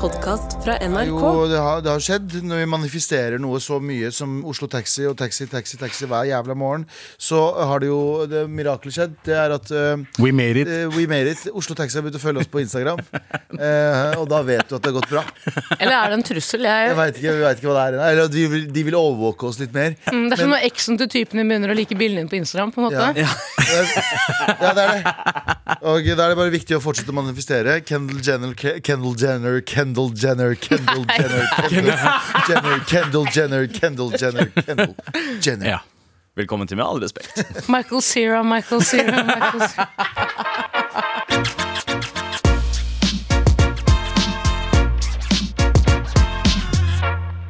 podkast fra Det er NRK. Jo, det har, det har skjedd. Når vi manifesterer noe så mye som Oslo Taxi og Taxi, Taxi, Taxi hver jævla morgen, så har det jo det mirakelet skjedd. Det er at eh, We made it. eh, We Made It, Oslo Taxi har begynt å følge oss på Instagram. Eh, og da vet du at det har gått bra. Eller er det en trussel? Jeg Jeg, vet ikke, vi vet ikke hva det er. Eller at de vil, de vil overvåke oss litt mer. Mm, det er som når eksen til typen din begynner å like bildene dine på Instagram. på en måte. Ja. Ja, det er det. Og da er det bare viktig å fortsette å manifestere. Kendal Jenner, Ke- Kendall Jenner, Kendall Jenner, Kendall Jenner, Kendall Jenner, Kendall Jenner, Kendall Jenner, Kendall Jenner. Ja. Velkommen til Med all respekt. Michael Cera, Michael Cera, Michael Cera.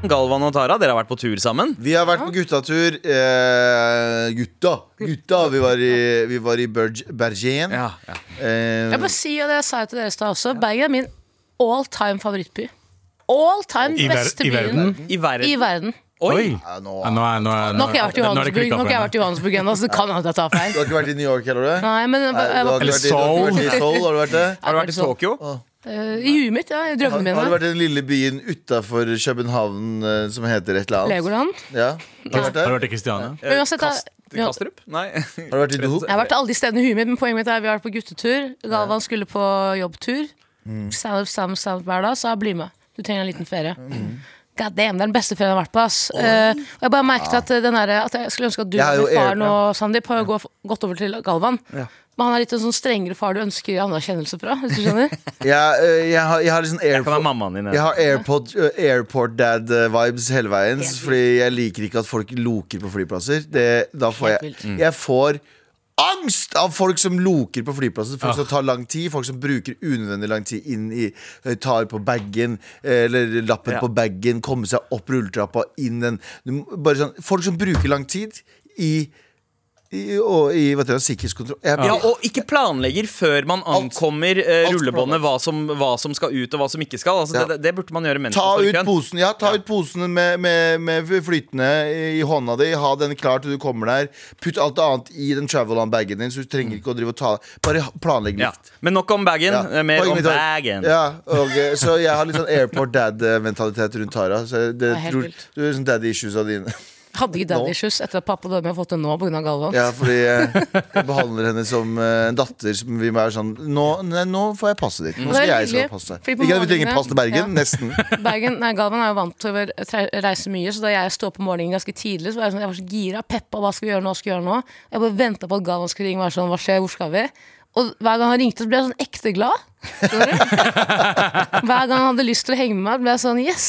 Galvan og Tara, dere har vært på tur sammen. Vi har vært på guttatur. Eh, gutta. gutta. Vi var i, vi var i Berg, Bergen. Jeg Eh, bare si, og det sa jeg til dere i stad også, Bergen er min all time favorittby. All time I, ver beste I verden. byen I verden. i verden. Oi! Oi! ja, nå, Ja, nå, er, nå, er, Nå har ikke jeg vært i nå er det Johannesburg klikket for nå har ikke jeg henne. vært i Johannesburg ennå, så det kan hende at jeg tar du feil. har ikke vært i New York heller, du? Nei, men jeg, Nei, jeg, du har var- ikke vært i- du har ikke vært i Seoul. Har du vært det? Har du vært i Tokyo? sånn. eh, I huet mitt, ja. I Har, drømmene har du mine. vært i den lille byen utafor København eh, som heter et eller annet? Legoland. Ja. Har du vært Har du der? vært i Kristiania? Eh, Men uansett, da- Kast- ja. Kastrup? Nei. Har du vært i Dohuk? Jeg har vært til alle de stedene i huet mitt, men poenget mitt er at vi har vært på guttetur. Galvan skulle på jobbtur. Mm. Standup, standup, standup hver dag, så bli med. Du trenger en liten ferie. Mm. God damn, det er den beste ferien jeg har vært på. ass Eh, Og jeg bare merket at, eh, den her, at jeg skulle ønske at du Jeg er og jo faren enig, og Sandeep har jo gå- gått over til Galvan. Men han er litt en sånn strengere far du ønsker anerkjennelse fra. Hvis du skjønner Jeg, eh, jeg, har, jeg har liksom Kan være airport, mammaen din. jeg har airpod, eh, airport dad-vibes hele veien. Fordi jeg liker ikke at folk loker på flyplasser. Det, da får jeg, Helt jeg får angst av folk som loker på flyplasser. Folk som tar lang tid, folk som bruker unødvendig lang tid inn i eh, Tar på bagen, eh, eller lappen Ja. på bagen, komme seg opp rulletrappa, inn en du må- Bare sånn Folk som bruker lang tid i, i, og, i vet du, sikkerhetskontroll. Jeg, Ja, og ikke planlegger før man ankommer eh, Alt rullebåndet hva som, hva som skal ut og hva som ikke skal. Altså, Ja. det, det burde man gjøre mens Ta man står i ut køen. posen, ja, ta ut posen med, med, med flytende i hånda di. Ha den klar til du kommer der. Putt alt annet i den travel-on-bagen din. Så du trenger ikke å drive og ta Bare planlegg Ja. litt. Men nok om bagen. Ja. eh, Mer Poenget om mitt var- bagen. Ja, og, eh, så jeg har litt sånn airport dad-mentalitet rundt Tara. Så det, er helt tror, vilt. du er sånn daddy issues av dine. Hadde ikke Nå. daddy issues etter at pappa døde, men jeg har fått det nå pga. Galvan. Ja, fordi eh, jeg behandler henne som eh, en datter som vi må være sånn nå, nei, nå får jeg passe ditt. Nå Mm. Det skal er jeg skal hyggelig, passe deg. fordi på Ikke at vi trenger morgenene- pass til Bergen. Ja. Nesten. Bergen, nei, Galvan er jo vant til å være- tre- reise mye, så da jeg sto opp om morgenen ganske tidlig, så var jeg, sånn, jeg var så gira, peppa, hva skal vi gjøre nå, hva skal vi gjøre nå? Jeg bare venta på at Galvan skulle ringe og være sånn, hva skjer, hvor skal vi? Og hver gang han ringte, så ble jeg sånn ekte glad. Skjønner du? Hver gang han hadde lyst til å henge med meg, ble jeg sånn yes.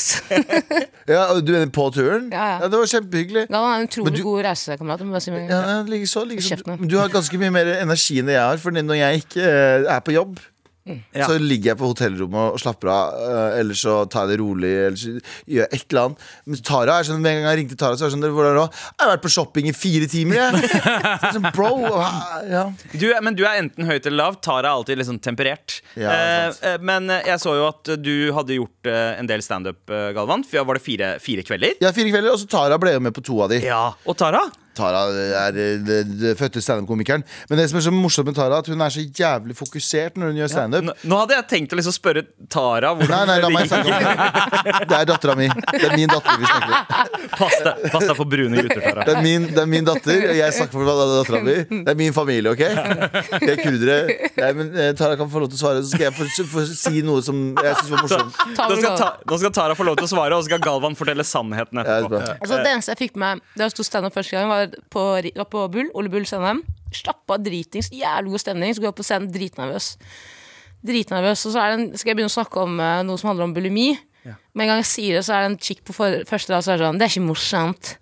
Ja, og du er på turen? Ja, ja. ja det var kjempehyggelig. Galvan er en Men utrolig du- god reisekamerat. jeg må bare si med en Ja, gang. ja, like så, like så. Kjeften din. Du har ganske mye mer energi enn det jeg har. For når jeg ikke eh, er på jobb, Ja. så ligger jeg på hotellrommet og slapper av. eh, eller så tar jeg det rolig, eller så gjør jeg et eller annet. Men Tara er sånn, Med en gang jeg ringte Tara, så er det sånn "Dere, Hvordan da? Jeg har vært på shopping i fire timer, jeg. Så sånn, bro. ah, Ja. Du, er- men du er enten høyt eller lavt. Tara er alltid liksom temperert. Ja, sant. eh, eh, men eh, jeg så jo at eh, du hadde gjort eh, en del standup, eh, Galvan. For ja, var det fire, fire kvelder? Jeg har fire kvelder, og så Tara ble jo med på to av de. Ja. Og Tara? Tara er eh, den den fødte standup-komikeren. Men det som er så morsomt med Tara, er at hun er så jævlig fokusert når hun gjør standup. Nå, nå hadde jeg tenkt å liksom spørre Tara hvordan Nei, nei, la meg snakke om det. Det er dattera mi. Det er min datter vi snakker om. pasta, pasta for brune gutter, Tara. Det er min, det er min datter, og jeg snakker for dattera mi. Det er min familie, OK? De er kurdere. Nei, men eh, Tara kan få lov til å svare, så skal jeg få, få si noe som jeg syns var morsomt. Ta Nå skal, med Galvan. ta, nå skal Tara få lov til å svare, og så skal Galvan fortelle sannheten Ja, det er etterpå. bra. Altså, det eneste jeg fikk med meg da jeg sto standup første gang, var på, var på Bull, Ole Bull Sandheim. Slappa dritings, jævlig god stemning. Så går jeg opp på scenen dritnervøs. Dritnervøs, Og så er det en, skal jeg begynne å snakke om eh, noe som handler om bulimi. Med en gang jeg sier det, så er det en chick på for, første rad som er sånn Det er ikke morsomt.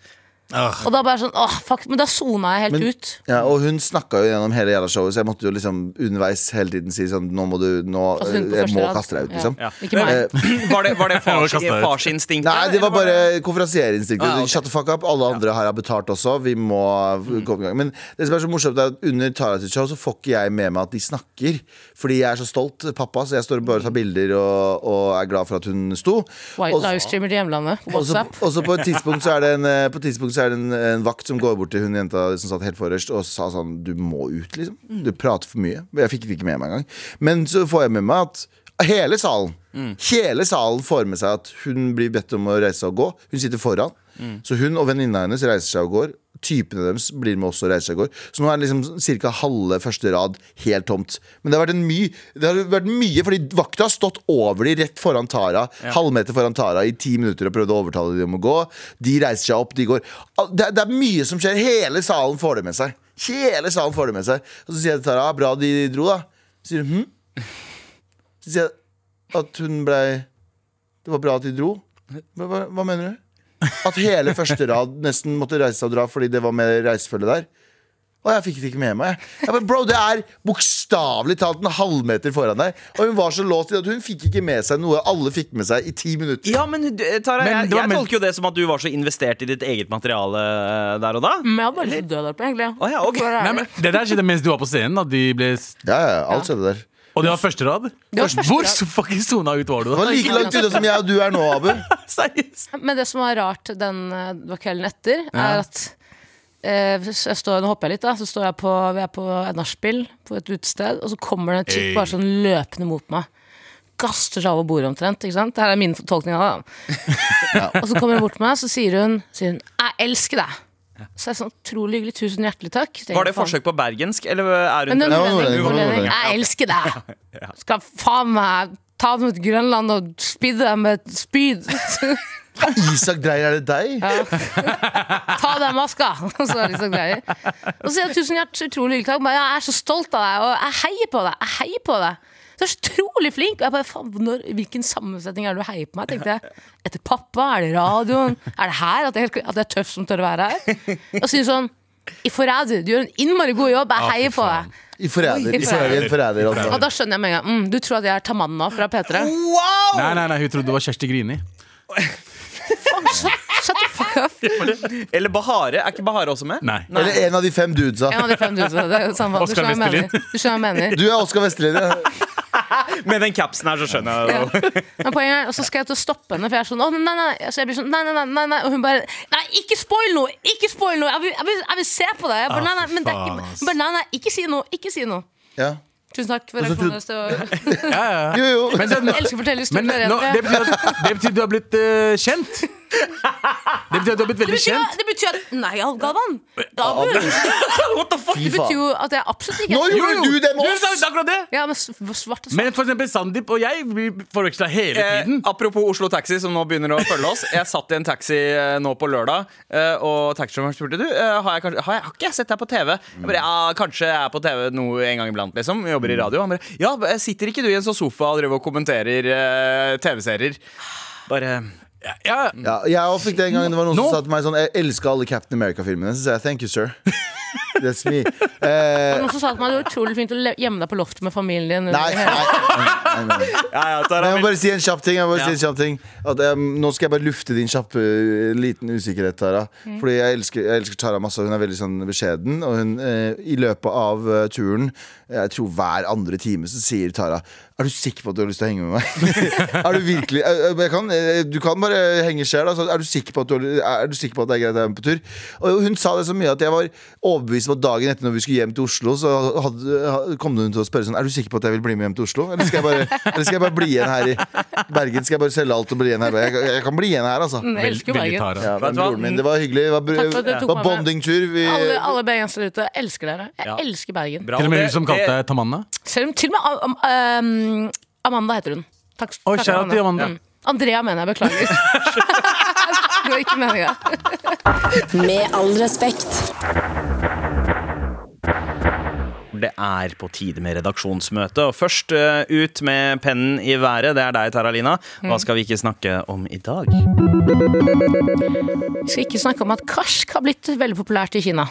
Og da bare sånn, åh, fuck, men da sona jeg helt Men- ut. Ja, og hun snakka jo gjennom hele jævla showet, så jeg måtte jo liksom underveis hele tiden si sånn Nå må du Nå Altså, eh, hun på Jeg første må rad. kaste deg ut, liksom. Ja. Ikke meg. Eh, Var det, var det fars, Jeg må kaste deg ut. farsinstinktet? Nei, det var bare konferansieringsinstinktet. Ah, ok. Mm. Shut the fuck up. Alle andre her har betalt også. Vi må komme i gang. Men det som er så morsomt, er at under Tara sitt show så får ikke jeg med meg at de snakker. Fordi jeg er så stolt pappa, så jeg står bare og Mm. tar bilder og, og er glad for at hun sto. White Og- livestreamer til hjemlandet på og så- WhatsApp. Og så på et tidspunkt så er det en, eh, på et tidspunkt så er det en, en vakt som går bort til hun jenta som satt helt forrest og sa sånn Du må ut, liksom. Du prater for mye. Jeg fikk det ikke med meg engang. Men så får jeg med meg at Hele salen Hele salen får med seg at hun blir bedt om å reise seg og gå. Hun sitter foran. Mm. Så hun og venninna hennes reiser seg og går. Typene deres blir med også og reiser seg og går. Så nå er det liksom ca. halve første rad helt tomt. Men det har vært, en my, det har vært mye, fordi vakta har stått over de rett foran Tara. Halvmeter foran Tara i ti minutter og prøvd å overtale dem om å gå. De reiser seg opp, de går. Al- Det, er- det er mye som skjer. Hele salen får det med seg. Hele salen får det med seg. Og så sier jeg til Tara "Ah, bra de dro, da. Så sier hun hm? Så sier jeg at hun blei Det var bra at de dro. Hva, hva, hva mener du? At hele første rad nesten måtte reise seg og dra fordi det var med reisefølge der. Og jeg fikk det ikke med meg. Jeg bare, bro, Det er bokstavelig talt en halvmeter foran deg. Og hun var så låst i at hun fikk ikke med seg noe alle fikk med seg i ti minutter. Ja, men du- eh, Tara, Men jeg, det var jeg mel- tolker jo det som at du var så investert i ditt eget materiale eh, der og da. Men jeg hadde bare lyst til å dø der oppe, egentlig. Å ja, ok. For å være Nei, ærlig. men Det der skjedde mens du var på scenen. At de ble, s- Ja, ja, alt skjedde der Det og det var første rad? var første Hvor rad. så fucking sona ut var du da? var like langt unna som jeg og du er nå, Abu. Seriøst? Men det som var rart den eh, det var kvelden etter, er at eh, så jeg står, Nå hopper jeg litt, da. Så står jeg på, vi er på et nachspiel på et utested, og så kommer det en chick Hey. bare sånn løpende mot meg. Kaster seg over bordet omtrent. ikke sant? Dette er min fortolkning av det. da. Og så kommer hun bort til meg, så sier hun, sier hun 'jeg elsker deg'. Så jeg er sånn utrolig hyggelig, tusen hjertelig takk. Tenker, Var det faen. forsøk på bergensk, eller eh, er hun Men det Nei, var det var nordlending, det nordlending, var nordlending. nordlending. Jeg elsker deg! Skal faen meg ta dem ut Grønland og spidde dem med et spyd. Isak Dreyer, er det deg? Ta av deg maska! Og så er det liksom greier. Og så sier jeg tusen hjertelig utrolig hyggelig takk. Bare, Jeg er så stolt av deg, og jeg heier på deg. Jeg heier på deg. Du er så utrolig flink. Og jeg bare, faen, når, hvilken sammensetning er det du heier på meg? tenkte jeg. Etter pappa? Er det radioen? Er det her? At jeg, at jeg er tøff som tør å være her? Og sier sånn I forræder, du gjør en innmari god jobb. Jeg heier på deg. I forræder. Oi, i I forræder, i forræder Og altså. da skjønner jeg med en gang. Mm, du tror at jeg er Tamanna fra P3? Wow! Nei, nei, nei, hun trodde det var Kjersti Grini. Shut the fuck up! Eller Bahare. Er ikke Bahare også med? Nei. Eller en av de fem dudesa. En av de fem tusen. Det er jo samme. Du Oscar skjønner hva jeg Westerlin. mener. Du skjønner hva jeg mener. Du er Oskar Vestelid. ja. Med den capsen her, så skjønner jeg det. Men poenget er, og så skal jeg til å stoppe henne, for jeg er sånn «Å, nei, nei, nei». Så jeg blir sånn, nei, nei, nei, nei, nei. Og hun bare Nei, ikke spoil noe! Ikke spoil noe! Jeg vil, jeg vil, jeg vil se på deg! Jeg bare, nei, nei, men det er faen, ikke, ass. hun bare, nei, nei, ikke si noe! Ikke si noe! Ja. Tusen takk så for reaksjonen deres. Det var- Ja, ja. Jo, jo. Men, den, Jeg elsker å fortelle men historier. nå, det, jenter. betyr at, det betyr at du har blitt eh, kjent. Det betyr at du har blitt veldig Det betyr, kjent. det betyr at Nei, Galvan! Galvan. What the fuck? Fy Det betyr faen. jo at jeg absolutt ikke Nå er gjorde du det med sa oss! jo akkurat det. Ja, men s- svart og svart. Men for eksempel Sandeep og jeg Vi forveksla hele Eh, tiden. apropos Oslo Taxi, som nå begynner å følge oss. Jeg satt i en taxi eh, nå på lørdag, eh, og taxisjåføren spurte du eh, har, jeg kanskje, har, jeg, har ikke jeg sett deg på TV. Jeg bare, ja, Kanskje jeg er på TV noe en gang iblant, liksom. Jeg Jobber i radio. Han bare ja, b- sitter ikke du i en sånn sofa og driver og kommenterer eh, TV-serier? Bare Ja, Ja, jeg også fikk det en gang det var noen Nå- som sa til meg sånn Jeg elsker alle Captain America-filmene. Så sa jeg thank you, sir. That's me. Eh, Noen som sa til meg det var utrolig fint å le- gjemme deg på loftet med familien din. nei, nei, nei, nei, nei. Ja, ja, Tara, Men Jeg må bare si en kjapp ting. Jeg må bare Ja. si en kjapp ting at, eh, nå skal jeg bare lufte din kjappe eh, liten usikkerhet, Tara. Fordi jeg elsker, jeg elsker Tara masse, og hun er veldig sånn beskjeden. Og hun, eh, i løpet av eh, turen, jeg tror hver andre time, så sier Tara Er du sikker på at du har lyst til å henge med meg? er du virkelig eh, eh, jeg kan, eh, Du kan bare henge sjøl, altså. Er du sikker på at, du, har- er du sikker på at det er greit å være med på tur? Og hun sa det så mye at jeg var overbevist om at dagen etter når vi skulle hjem til Oslo, så hadde, ha- kom hun til å spørre sånn Er du sikker på at jeg vil bli med hjem til Oslo? Eller skal jeg bare, eller skal jeg bare bli igjen her i Bergen? Skal jeg bare selge alt og bli igjen her? Jeg, jeg kan bli igjen her, altså. Mm, Jeg elsker jo veldig Bergen. Tara. Ja, Vet men du hva? broren min, det var hyggelig. Det var, Takk for at du br- tok var meg med. bondingtur. Vi, Alle, alle bergensere ute, jeg elsker dere. Jeg Ja. elsker Bergen. Bra, Til og med det- hun som kalte deg Tamanna. Selv om til og med Am- Am- ehm, Amanda heter hun. Takk, Oi, takk, shout out til Amanda. Mm. Andrea mener jeg, beklager. det var ikke meninga. Med all respekt. Det er på tide med redaksjonsmøte. Og først eh, ut med pennen i været, det er deg, Taralina. Hva skal vi ikke snakke om i dag? Vi skal ikke snakke om at karsk har blitt veldig populært i Kina.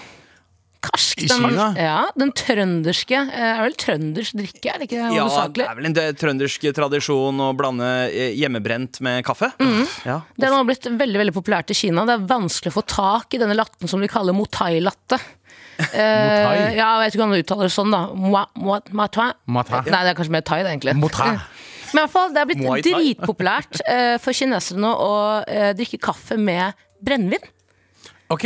Karsk, I den, Kina? Ja, den trønderske eh, Er vel trøndersk drikke, er det ikke Ja, det hovedsakelig? er vel en dø- trøndersk tradisjon å blande eh, hjemmebrent med kaffe. Ja. Det har nå blitt veldig veldig populært i Kina. Det er vanskelig å få tak i denne latten som de kaller motai-latte. Eh, Motai? ja, jeg vet ikke om du uttaler det sånn, da. Moa, moa, matai? Matai. Nei, det er kanskje mer thai, det, egentlig. Motæ. Men i hvert fall, det er Muay blitt Thai. dritpopulært eh, for kinesere nå å eh, drikke kaffe med brennevin. Ok,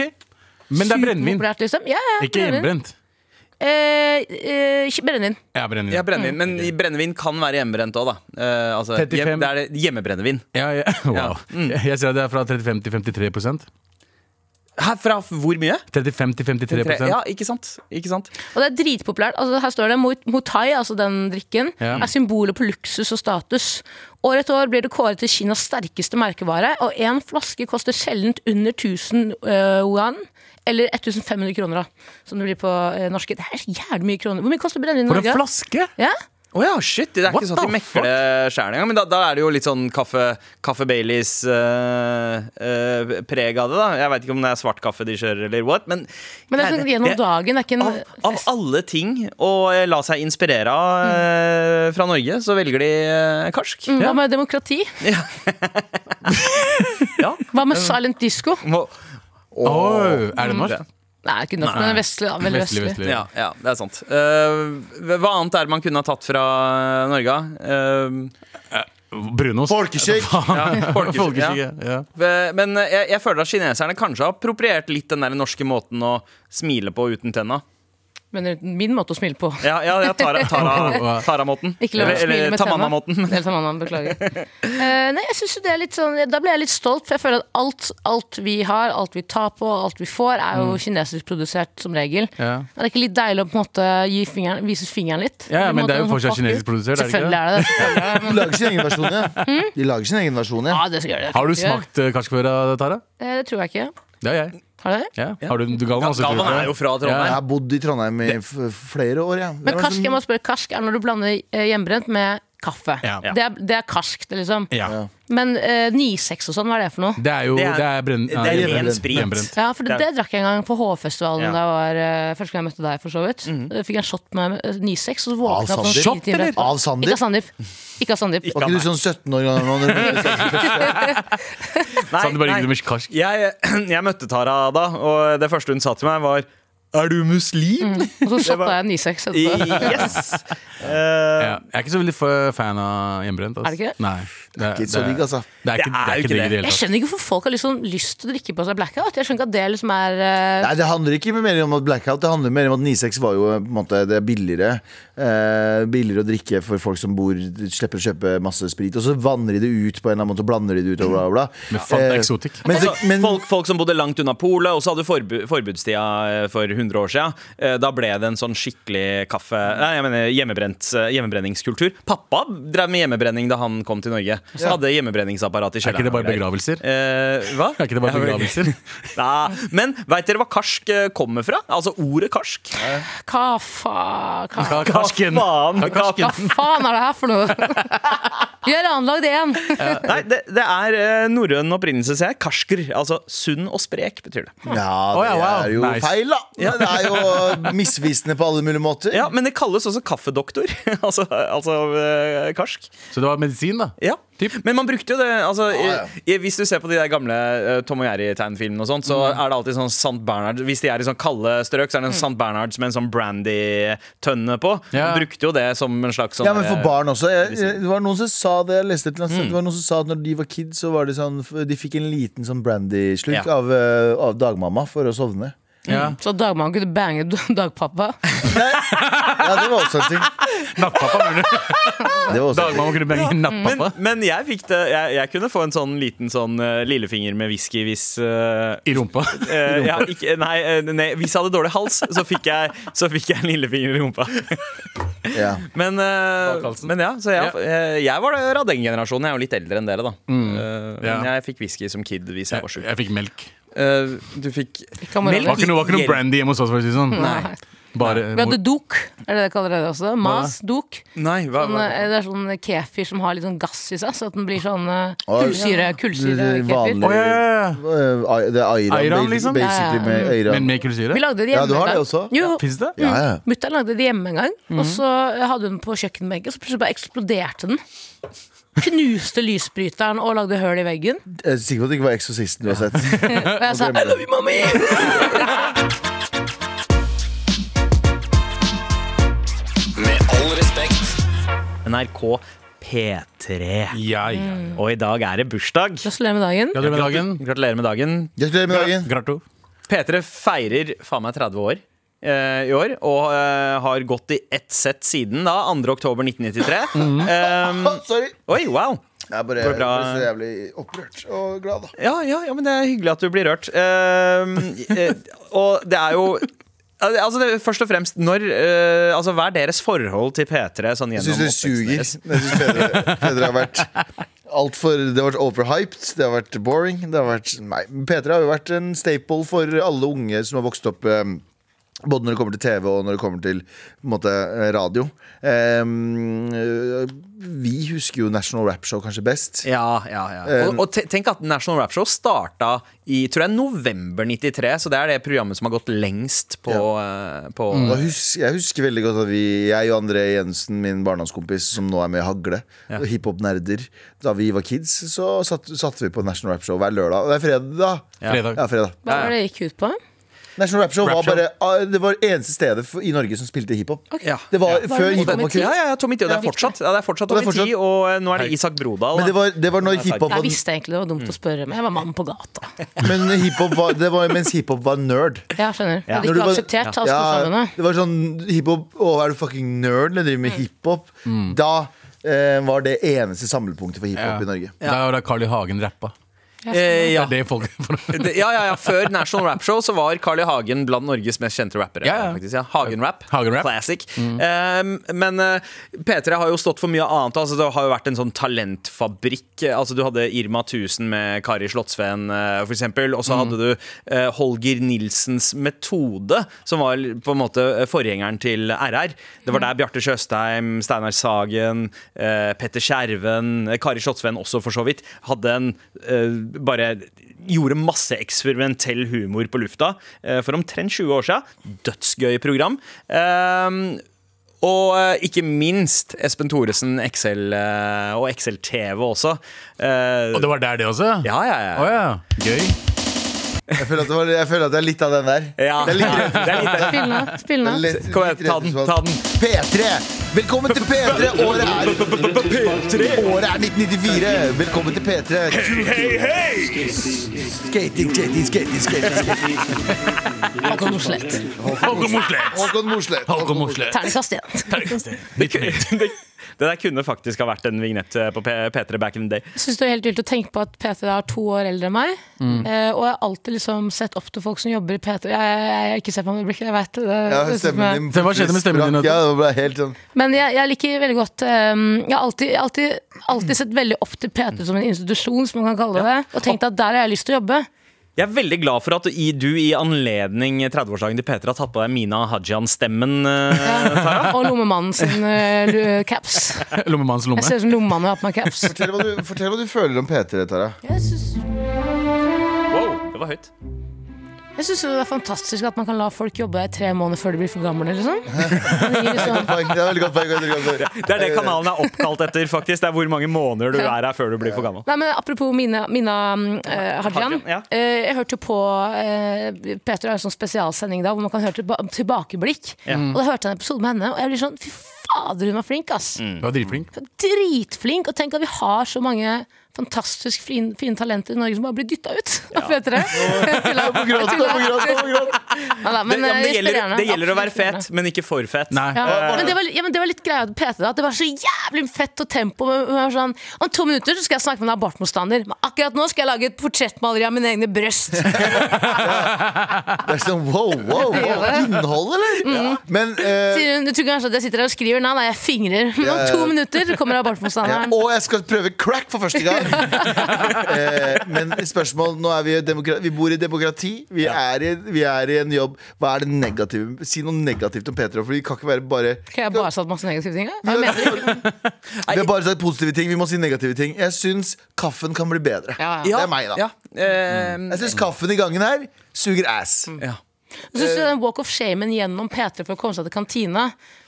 men det er brennevin, Superpopulært, liksom. Ja, ja, ikke brennevin. hjemmebrent. Eh, eh, ikke brennevin. Ja, brennevin. Ja, brennevin, Men i- brennevin kan være hjemmebrent òg, da. Eh, altså, 35. hjem, det er det- hjemmebrennevin. Ja, ja. Wow. Jeg- Jeg ser at det er fra 35 til 53 prosent. Her, fra hvor mye? 35 til 53 prosent. Ja, ikke sant? Ikke sant? Og det er dritpopulært. Altså, her står det Mot- Motai, altså den drikken, Ja. er symbolet på luksus og status. År etter år blir det kåret til Kinas sterkeste merkevare, og én flaske koster sjelden under 1000 eh, yuan. Eller 1500 kroner, da, som det blir på eh, norske. Det er jævlig mye kroner. Hvor mye koster brennevin i For en Norge? flaske! Ja? Å ja, shit, Det er What ikke sånn at de the mekker det sjæl engang. Men da, da er det jo litt sånn kaffe, kaffe Baileys-preg av det. da Jeg veit ikke om det er svart kaffe de kjører, eller what. Men, Men det er sånn gjennom det- dagen. Det er ikke en av, av alle ting å eh, la seg inspirere av eh, fra Norge, så velger de eh, karsk. Mm, Hva med demokrati? Ja. Hva med silent disco? Må- Oi, er det norsk? Nei, ikke nok, men vestlig. da, Veldig Vestlig, vestlig. vestlig. Ja, ja, det er sant. Eh, hva annet er det man kunne ha tatt fra Norge? Uh, Brunost. Folkeskikk! ja, folkeskikk, ja. Folkeskikk, ja. Eh, Men jeg, jeg føler at kineserne kanskje har appropriert litt den der norske måten å smile på uten tenna. Men det er min måte å smile på. Ja, ja, ja Tara- Tara- Tara-måten. Ikke lov å smile med Tamanna-måten. Del Tamanna, beklager. Eh, nei, jeg synes jo det er litt sånn Da ble jeg litt stolt, for jeg føler at alt, alt vi har, alt vi tar på, alt vi får, er jo kinesisk produsert som regel. Mm. Ja. Er det ikke litt deilig å på en måte gi fingeren, vise fingeren litt? Ja, ja, På en men måte det er jo sånn, fortsatt fuck you. kinesisk produsert, er det ikke Selvfølgelig er det det. Selvfølgelig er det, De men- lager sin egen versjon, ja. Mm? De lager sin egen versjon, ja. Ah, Ja, det gjør det. Har du smakt eh, karsk før, eh, Tara? Eh, Det tror jeg ikke. Det har jeg. Har du det? Ja. Har du, du ga meg også Galvan prøve. er jo fra Jeg Trondheim. har bodd i Trondheim i f flere år, jeg. Men karsk, jeg må spørre, karsk er når du blander eh, hjemmebrent med kaffe. Ja. Det, er, det er karskt, liksom. Ja. Men eh, 9-6 og sånn, hva er det for noe? Det er jo Det er- Det er, brenn, Det er ren hjemmebrent. sprit. Hjemmebrent. Ja, for det, Det det drakk jeg en gang på H-festivalen Ja. da jeg var eh, første gang jeg møtte deg, for så vidt. Da Fikk jeg en shot med eh, 9-6, og så våkna Av jeg opp sånn Sandeep? fire timer Shot, eller? etterpå. Av Sandeep? Ikke av Sandeep. Ikke av Sandeep. Var ikke du sånn 17 år gammel? Nei, Sånn, du bare nei. gikk med karsk. Jeg, eh, jeg møtte Tara da, og det første hun sa til meg, var Er du muslim? Og så shotta jeg 9-6 etterpå. Yes! Eh, Ja. Jeg er ikke så veldig f- fan av hjemmebrent. ass. Er det ikke det? Nei. Det Ikke så digg, altså. Det er ikke det, er ikke digg i det hele Jeg tatt. skjønner ikke hvorfor folk har liksom lyst til å drikke på seg blackout. Jeg skjønner ikke at det liksom er eh, Nei, Det handler ikke mer om at blackout, det handler mer om at 96 var jo på en måte, det er billigere. Eh, billigere å drikke for folk som bor slipper å kjøpe masse sprit. Og så vanner de det ut på en eller annen måte, og blander de det ut og bla, bla, bla. Men faen, det er Eh, eksotikk. Men, så, Altså, men folk, folk som bodde langt unna polet, og så hadde du forbu forbudstida eh, for 100 år siden. Eh, Da ble det en sånn skikkelig kaffe... Nei, jeg mener hjemmebrent, eh, hjemmebrenningskultur. Pappa drev med hjemmebrenning da han kom til Norge. Så hadde hjemmebrenningsapparat i Er ikke kjelleren. det bare og greier. begravelser? Eh, hva? Er ikke det bare Ja, vel. begravelser? Nei, Men veit dere hva karsk eh, kommer fra? Altså ordet karsk? Hva faen hva, Ja, Karsken. Faen, karsken. hva faen er det her for noe? Gjør anlag det igjen! Nei, det, det er eh, norrøn opprinnelse, ser jeg. Karsker. Altså sunn og sprek, betyr det. Ja, det Å, ja, wow. er jo Nice. feil, da. Det er jo misvisende på alle mulige måter. Ja, Men det kalles også kaffedoktor. altså altså eh, karsk. Så det var medisin, da? Ja, Typ. Men man brukte jo det altså, Ja, i, i, Hvis du ser på de der gamle eh, Tom og Jerry-tegnfilmene, og sånt så Mm. er det alltid sånn St. Bernhard Hvis de er i sånn kalde strøk, så er det en St. Bernhards med en sånn brandy-tønne på. Ja. Man brukte jo det som en slags sånn Ja, men for eh, barn også. Jeg, jeg- det var noen som sa det, jeg leste et eller annet Mm. sted, det var noen som sa at når de var kids, så var de sånn f- De fikk en liten sånn brandy-slurk Ja. av, eh, av dagmamma for å sovne. Ja. Så dagmannen kunne bange d- dagpappa. Ja, det var også en ting. Nattpappa, mener du? Det var også en ting. Dagmamma kunne bringe nattpappa? Men jeg fikk det jeg, jeg kunne få en sånn liten sånn eh, lillefinger med whisky hvis eh, I rumpa? eh, ja, ikke, nei, eh, nei, hvis jeg hadde dårlig hals, så fikk jeg, så fikk jeg en lillefinger i rumpa. Ja. Men, eh, Bak halsen. men ja, så jeg, Ja. Mm. eh, jeg var det- Radeng-generasjonen. Jeg er jo litt eldre enn dere, da. Eh, ja. Men jeg fikk whisky som kid hvis jeg var Jeg, sjuk. jeg fikk melk. Eh, du fikk Kan man- Det var ikke noe, var ikke noe Hjelp. brandy hjemme hos oss, for å si det sånn. Nei. Bare Vi hadde dok, er det det kaller det også? Mas, dok. Nei, hva, Sånn, hva? eh, det er sånn kefir som har litt sånn gass i seg, så at den blir sånn eh, Oi. kullsyre, Det er kullsyrekefir. Å, ja, ja, ja. Eh, Det er Ayran, Ayran, ba- liksom? basically med Men Ayran. med kullsyre? Vi lagde det Ja, hjemme. du har en gang. det også? Jo, Fins det? Ja, Mm. ja. Mutter'n lagde det hjemme en gang, og så hadde hun den på kjøkkenbenken, så plutselig bare eksploderte den. Knuste lysbryteren og lagde høl i veggen. Jeg er sikker på at det ikke var Eksorsisten du har sett. Og jeg sa glemmer 'I love you, mommy'! Med all respekt. NRK P3. Ja, ja. ja. Mm. Og i dag er det bursdag. Gratulerer med dagen. Gratulerer med dagen. Gratulerer med dagen. Gratulerer med dagen. Gratu. P3 feirer faen meg 30 år. eh, i år, og eh, har gått i ett sett siden da, 2. oktober 1993. Mm. Eh, Sorry. oi, wow! Jeg er bare, Går det bra? bare så jævlig opprørt og glad, da. Ja, ja, ja, men det er hyggelig at du blir rørt. Eh, eh, og det er jo Altså det, Først og fremst, når eh, Altså hva er deres forhold til P3 sånn Jeg gjennom syns det suger. Jeg oppveksten deres? synes Fedre, Fedre har vært alt for, Det har vært overhyped, det har vært boring. Det har vært, nei, P3 har jo vært en staple for alle unge som har vokst opp eh, både når det kommer til TV og når det kommer til på en måte, eh, radio. Em, eh, vi husker jo National Rap Show kanskje best. Ja, ja, ja. Og, og te- tenk at National Rap Show starta i tror jeg, november 93, så det er det programmet som har gått lengst på, eh, på Og hus- jeg husker veldig godt at vi, jeg og André Jensen, min barndomskompis, som nå er med i Hagle, og hiphop-nerder, da vi var kids, så satt, satt vi på National Rap Show hver lørdag. Det er fredag. Ja. Fredag. Ja, fredag. Hva var det gikk ut på? National Rap Show Rap var Show. bare ah, Det var eneste stedet for, i Norge som spilte hiphop. Ja. Det var det før med hiphop var Tommy T? kult. Ja, ja, ja, Tommy T. Og det er Det er fortsatt, ja, det er fortsatt Og det er Tommy T, fortsatt- og eh, nå er det Isak Brodal. Men det var, det var når hiphop var, Jeg visste egentlig det var dumt å spørre, men jeg var mann på gata. men hiphop var, det var mens hiphop var nerd. Ja, skjønner. Det hadde Når du ikke var- akseptert av Ja, storsamfunnet. det var sånn hiphop Å, er du fucking nerd eller driver med Mm. hiphop? Da eh, var det eneste samlepunktet for hiphop i Norge. Det var da Carl I. Hagen rappa. Eh, ja. Det er det folk Det- ja, ja, ja. Før National Rap Show så var Carl I. Hagen blant Norges mest kjente rappere. Ja, Mm. ja. faktisk, ja. Hagen-rap. Hagen-rap. Classic. Eh, men eh, P3 har jo stått for mye annet. Altså, det har jo vært en sånn talentfabrikk. Eh, Altså, du hadde Irma 1000 med Kari Slottsveen, eh, for eksempel. Og så Mm. hadde du eh, Holger Nilsens Metode, som var på en måte eh, forgjengeren til RR. Det var der Bjarte Tjøstheim, Steinar Sagen, eh, Petter Skjerven, eh, Kari Slottsveen også, for så vidt, hadde en eh, bare gjorde masse eksperimentell humor på lufta eh, for omtrent 20 år siden. Dødsgøy program. Ehm, og eh, ikke minst Espen Thoresen, Excel eh, og Excel-TV også. Eh, Og det var der, det også? ja, ja, ja. Å ja. Gøy. Jeg føler, at det var, jeg føler at det er litt av den der. Ja, Det er litt, ja, det er litt det. Spillene. det Spillene. er litt- Kom igjen, litt ta den, rett og slett. ta den. P3! Velkommen til P3! Året er Året er 1994! Velkommen til P3! Skating, skating, skating, skating. Håkon Mosleth. Håkon Mosleth. Håkon Mosleth. Håkon Mosleth. Terningkast igjen. Nytt nytt. Det det der kunne faktisk ha vært en vignett eh, på P- P3 back in the day. Jeg synes det er helt vilt å tenke på at P3 er to år eldre enn meg. Mm. Eh, og jeg har alltid liksom sett opp til folk som jobber i P3. Jeg, jeg, jeg har ikke sett på meg i blikket, jeg vet det. det. Ja, det er sånn som jeg- stemmen din Hva skjedde med stemmen din, sprakk. Otto? Ja, det ble helt sånn Men jeg, jeg liker veldig godt um, Jeg har alltid, alltid, alltid sett veldig opp til P3 som en institusjon, som man kan kalle det. Og tenkt at der har jeg lyst til å jobbe. Jeg er veldig glad for at du i, du i anledning 30-årsdagen til P3 har tatt på deg Mina Hajian-stemmen. eh, Og lommemannen sin eh, lu- caps. Lommemannens Jeg ser lomme. ut som lommemannen har på meg caps. Fortell hva, du, fortell hva du føler om P3, Tara. Jeg syns Wow, det var høyt. jeg syns jo det er fantastisk at man kan la folk jobbe i tre måneder før de blir for gamle. Liksom. Man gir liksom Poeng, Det er veldig godt poeng. veldig godt poeng. Det er det kanalen er oppkalt etter, faktisk. Det er hvor mange måneder du er her før du blir for gammel. Nei, men Apropos Mina, Mina eh, Hajian. Hajian, ja. eh, jeg hørte jo på eh, Peter har en sånn spesialsending da hvor man kan høre tilba tilbakeblikk. Og Da hørte jeg en episode med henne, og jeg blir sånn fy fader, hun var flink, ass. Mm. Du var dritflink. Dritflink. Og tenk at vi har så mange fantastisk fine, fine talenter i Norge som bare blir dytta ut av P3. Jeg tuller. Jeg tuller. Det, Nei da, men, ja, men eh, det, jeg gjelder, spiller gjerne. det gjelder å være Absolutt gjerne. fet, men ikke for fet. Nei. Ja. Eh, Men, det var, ja, men det var litt greia med PT da, at det var så jævlig fett og tempo. men det var sånn, om to minutter så skal jeg snakke med en abortmotstander, men akkurat nå skal jeg lage et portrettmaleri av mine egne bryst. Det er sånn wow, wow, wow. Innhold, eller? Mm. Men eh, Sier hun, Du tror kanskje at jeg sitter her og skriver, nei, nei, jeg fingrer. Men om Ja, ja. to minutter så kommer ja, abortmotstanderen. Og jeg skal prøve crack for første gang! Eh, men spørsmål Nå er vi, i demokra vi bor i demokrati. Vi er i, vi er i en jobb. Hva er det negative? Si noe negativt om P3, for vi kan ikke være bare Kan jeg bare sagt masse negative ting? da? vi Jeg mener, har bare sagt positive ting. Vi må si negative ting. Jeg syns kaffen kan bli bedre. ja, ja. Det er meg, da. Mm. Ja, eh, Jeg syns kaffen i gangen her suger ass. ja. Mm. Så synes jeg den walk of shamen gjennom P3 for å komme seg til kantina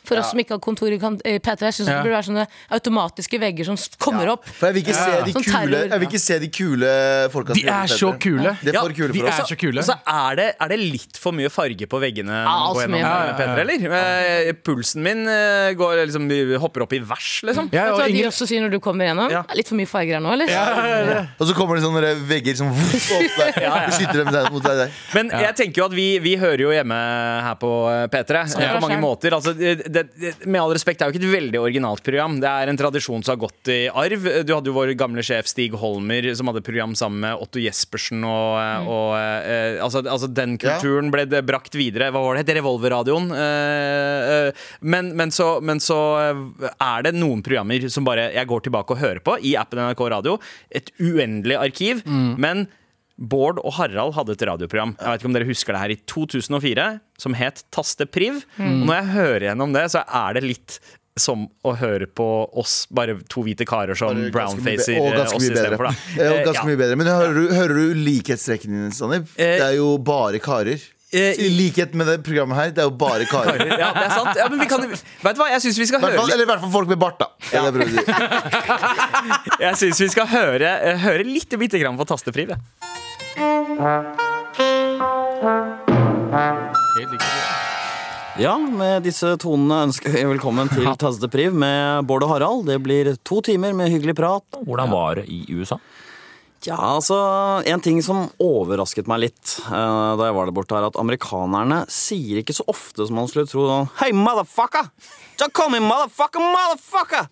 For oss som ikke har kontor i kan- i P3, jeg syns det burde være sånne automatiske vegger som s- kommer opp. For jeg vil ikke se de Sånn kule, terror. jeg vil ikke se de kule folka. som De gjør er det så bedre. kule. De er Ja, for kule de for er oss. så kule. Og så er det, er det litt for mye farge på veggene når man alt går for mye gjennom farge. eh, P3, eller? Eh, Pulsen min eh, går liksom, hopper opp i vers, liksom. Ja, Vet du og hva de ingen, også sier når du kommer gjennom? Ja. Det er Litt for mye farger her nå, eller? Og så kommer det sånne der vegger som voff, opp der. Beskytter dem der mot deg. der. Men jeg tenker jo at vi, vi hører jo hjemme her på eh, P3 eh, Ja. på mange måter. Altså, det, det, med all respekt, det er jo ikke et veldig originalt program. Det er en tradisjon som har gått i arv. Du hadde jo vår gamle sjef Stig Holmer som hadde program sammen med Otto Jespersen. Og, eh, og, eh, altså, altså den kulturen ble det brakt videre. Hva var det? het? Revolverradioen. Eh, eh, men, men, så, men så eh, er det noen programmer som bare jeg går tilbake og hører på i appen NRK Radio. Et uendelig arkiv. Men Bård og Harald hadde et radioprogram Jeg vet ikke om dere husker det her i 2004 som het Taste Priv. Og når jeg hører gjennom det, så er det litt som å høre på oss, bare to hvite karer som Ganske mye brownfacer be- og eh, ganske oss mye bedre. istedenfor. Eh, Og ganske mye bedre. Men hører du, hører du likhetstrekkene dine, Sandeep? Eh, Det er jo bare karer. Eh, I likhet med det programmet her, det er jo bare karer. Ja, det er sant. Ja, men vi kan, vet du hva, jeg syns vi skal I hvert høre fall, eller i hvert fall folk med bart, da. Det er det jeg prøver å si. Jeg synes vi skal høre, eh, høre litt bitte grann på tastepriv. jeg. Ja, med disse tonene ønsker vi velkommen til Tastepriv med Bård og Harald. Det blir to timer med hyggelig prat. Hvordan var det i USA? Ja, altså, En ting som overrasket meg litt eh, da jeg var der borte, er at amerikanerne sier ikke så ofte som man skulle tro sånn Hei, motherfucker! Don't call me motherfucker, motherfucker!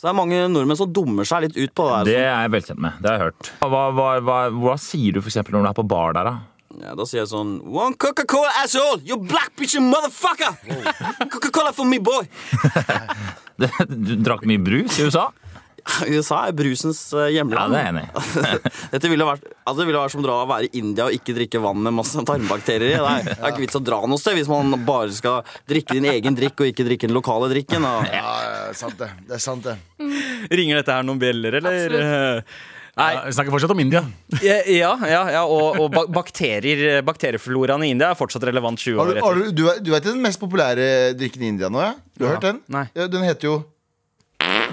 Så det er mange nordmenn som dummer seg litt ut på det. Det der. er jeg velkjent med. Det har jeg hørt. Hva, hva, hva, hva sier du for eksempel når du er på bar der, da? Ja, da sier jeg sånn One Coca-Cola asshole, you black bitch and motherfucker! Coca-Cola for me, boy! Du drakk mye brus i USA? USA er brusens eh, Ja, hjemland. det er jeg enig i. Dette ville vært, altså det ville vært som å dra og være i India og ikke drikke vann med masse tarmbakterier i. Det er, det er ikke vits å dra noe sted hvis man bare skal drikke din egen drikk og ikke drikke den lokale drikken. Og, Ja, ja, sant det. Det er sant, det. Ringer dette her noen bjeller, eller? Nei, jeg snakker fortsatt om India. ja, ja, ja, ja og, og bak- bakterier, bakteriefloraen i India er fortsatt relevant 20 Har år du, har etter. du, du, vet- du vet den mest populære drikken i India nå, ja? Du har hørt den? Nei. Ja, den heter jo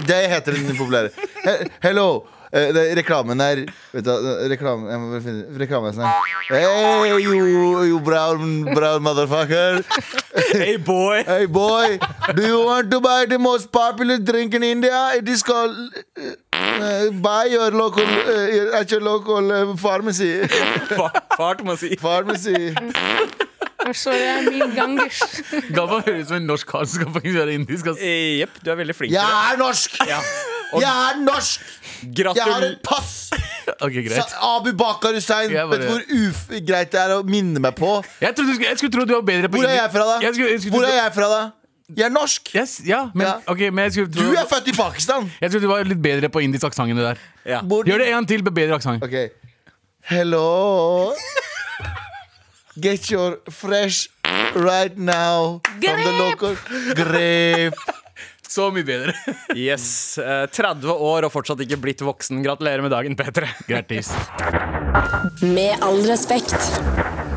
Det heter den populære. He- Hello! Eh, det, reklamen er Vet du hva, reklamen Jeg må bare finne reklamen er sånn her. Hey, you, you brown, brown motherfucker. Hey boy! Hey, boy. Do you want to buy the most popular drink in India? It is called eh, Buy your local uh, At your local eh, pharmacy. Fa- Fart må si. Pharmacy. Sorry, jeg er min gangers. Galvan høres ut som en norsk kar som skal faktisk være indisk. ass. Eh, Jepp, du er veldig flink. til Jeg det. er norsk! Jeg er norsk! Jeg har Gratul et pass! Ok, greit. Sa- Abu Bakar Hussein. Jeg bare- Vet du hvor uf greit det er å minne meg på? Jeg, trodde, du skulle- jeg skulle tro du var bedre på Hvor er India. jeg fra, da? Jeg skulle, jeg skulle, Hvor er jeg fra, da? Jeg er norsk! Yes, ja, men, Ja. ok, men jeg skulle Du tro er født i Pakistan! Jeg trodde du var litt bedre på indisk aksent enn det der. ja. Hvor- Gjør det en gang til med bedre aksent. Ok. Hello. Get your fresh right now from the Grape. local grape. Så mye bedre. Yes. eh, 30 år og fortsatt ikke blitt voksen. Gratulerer med dagen, Petre. Grattis. Med all respekt.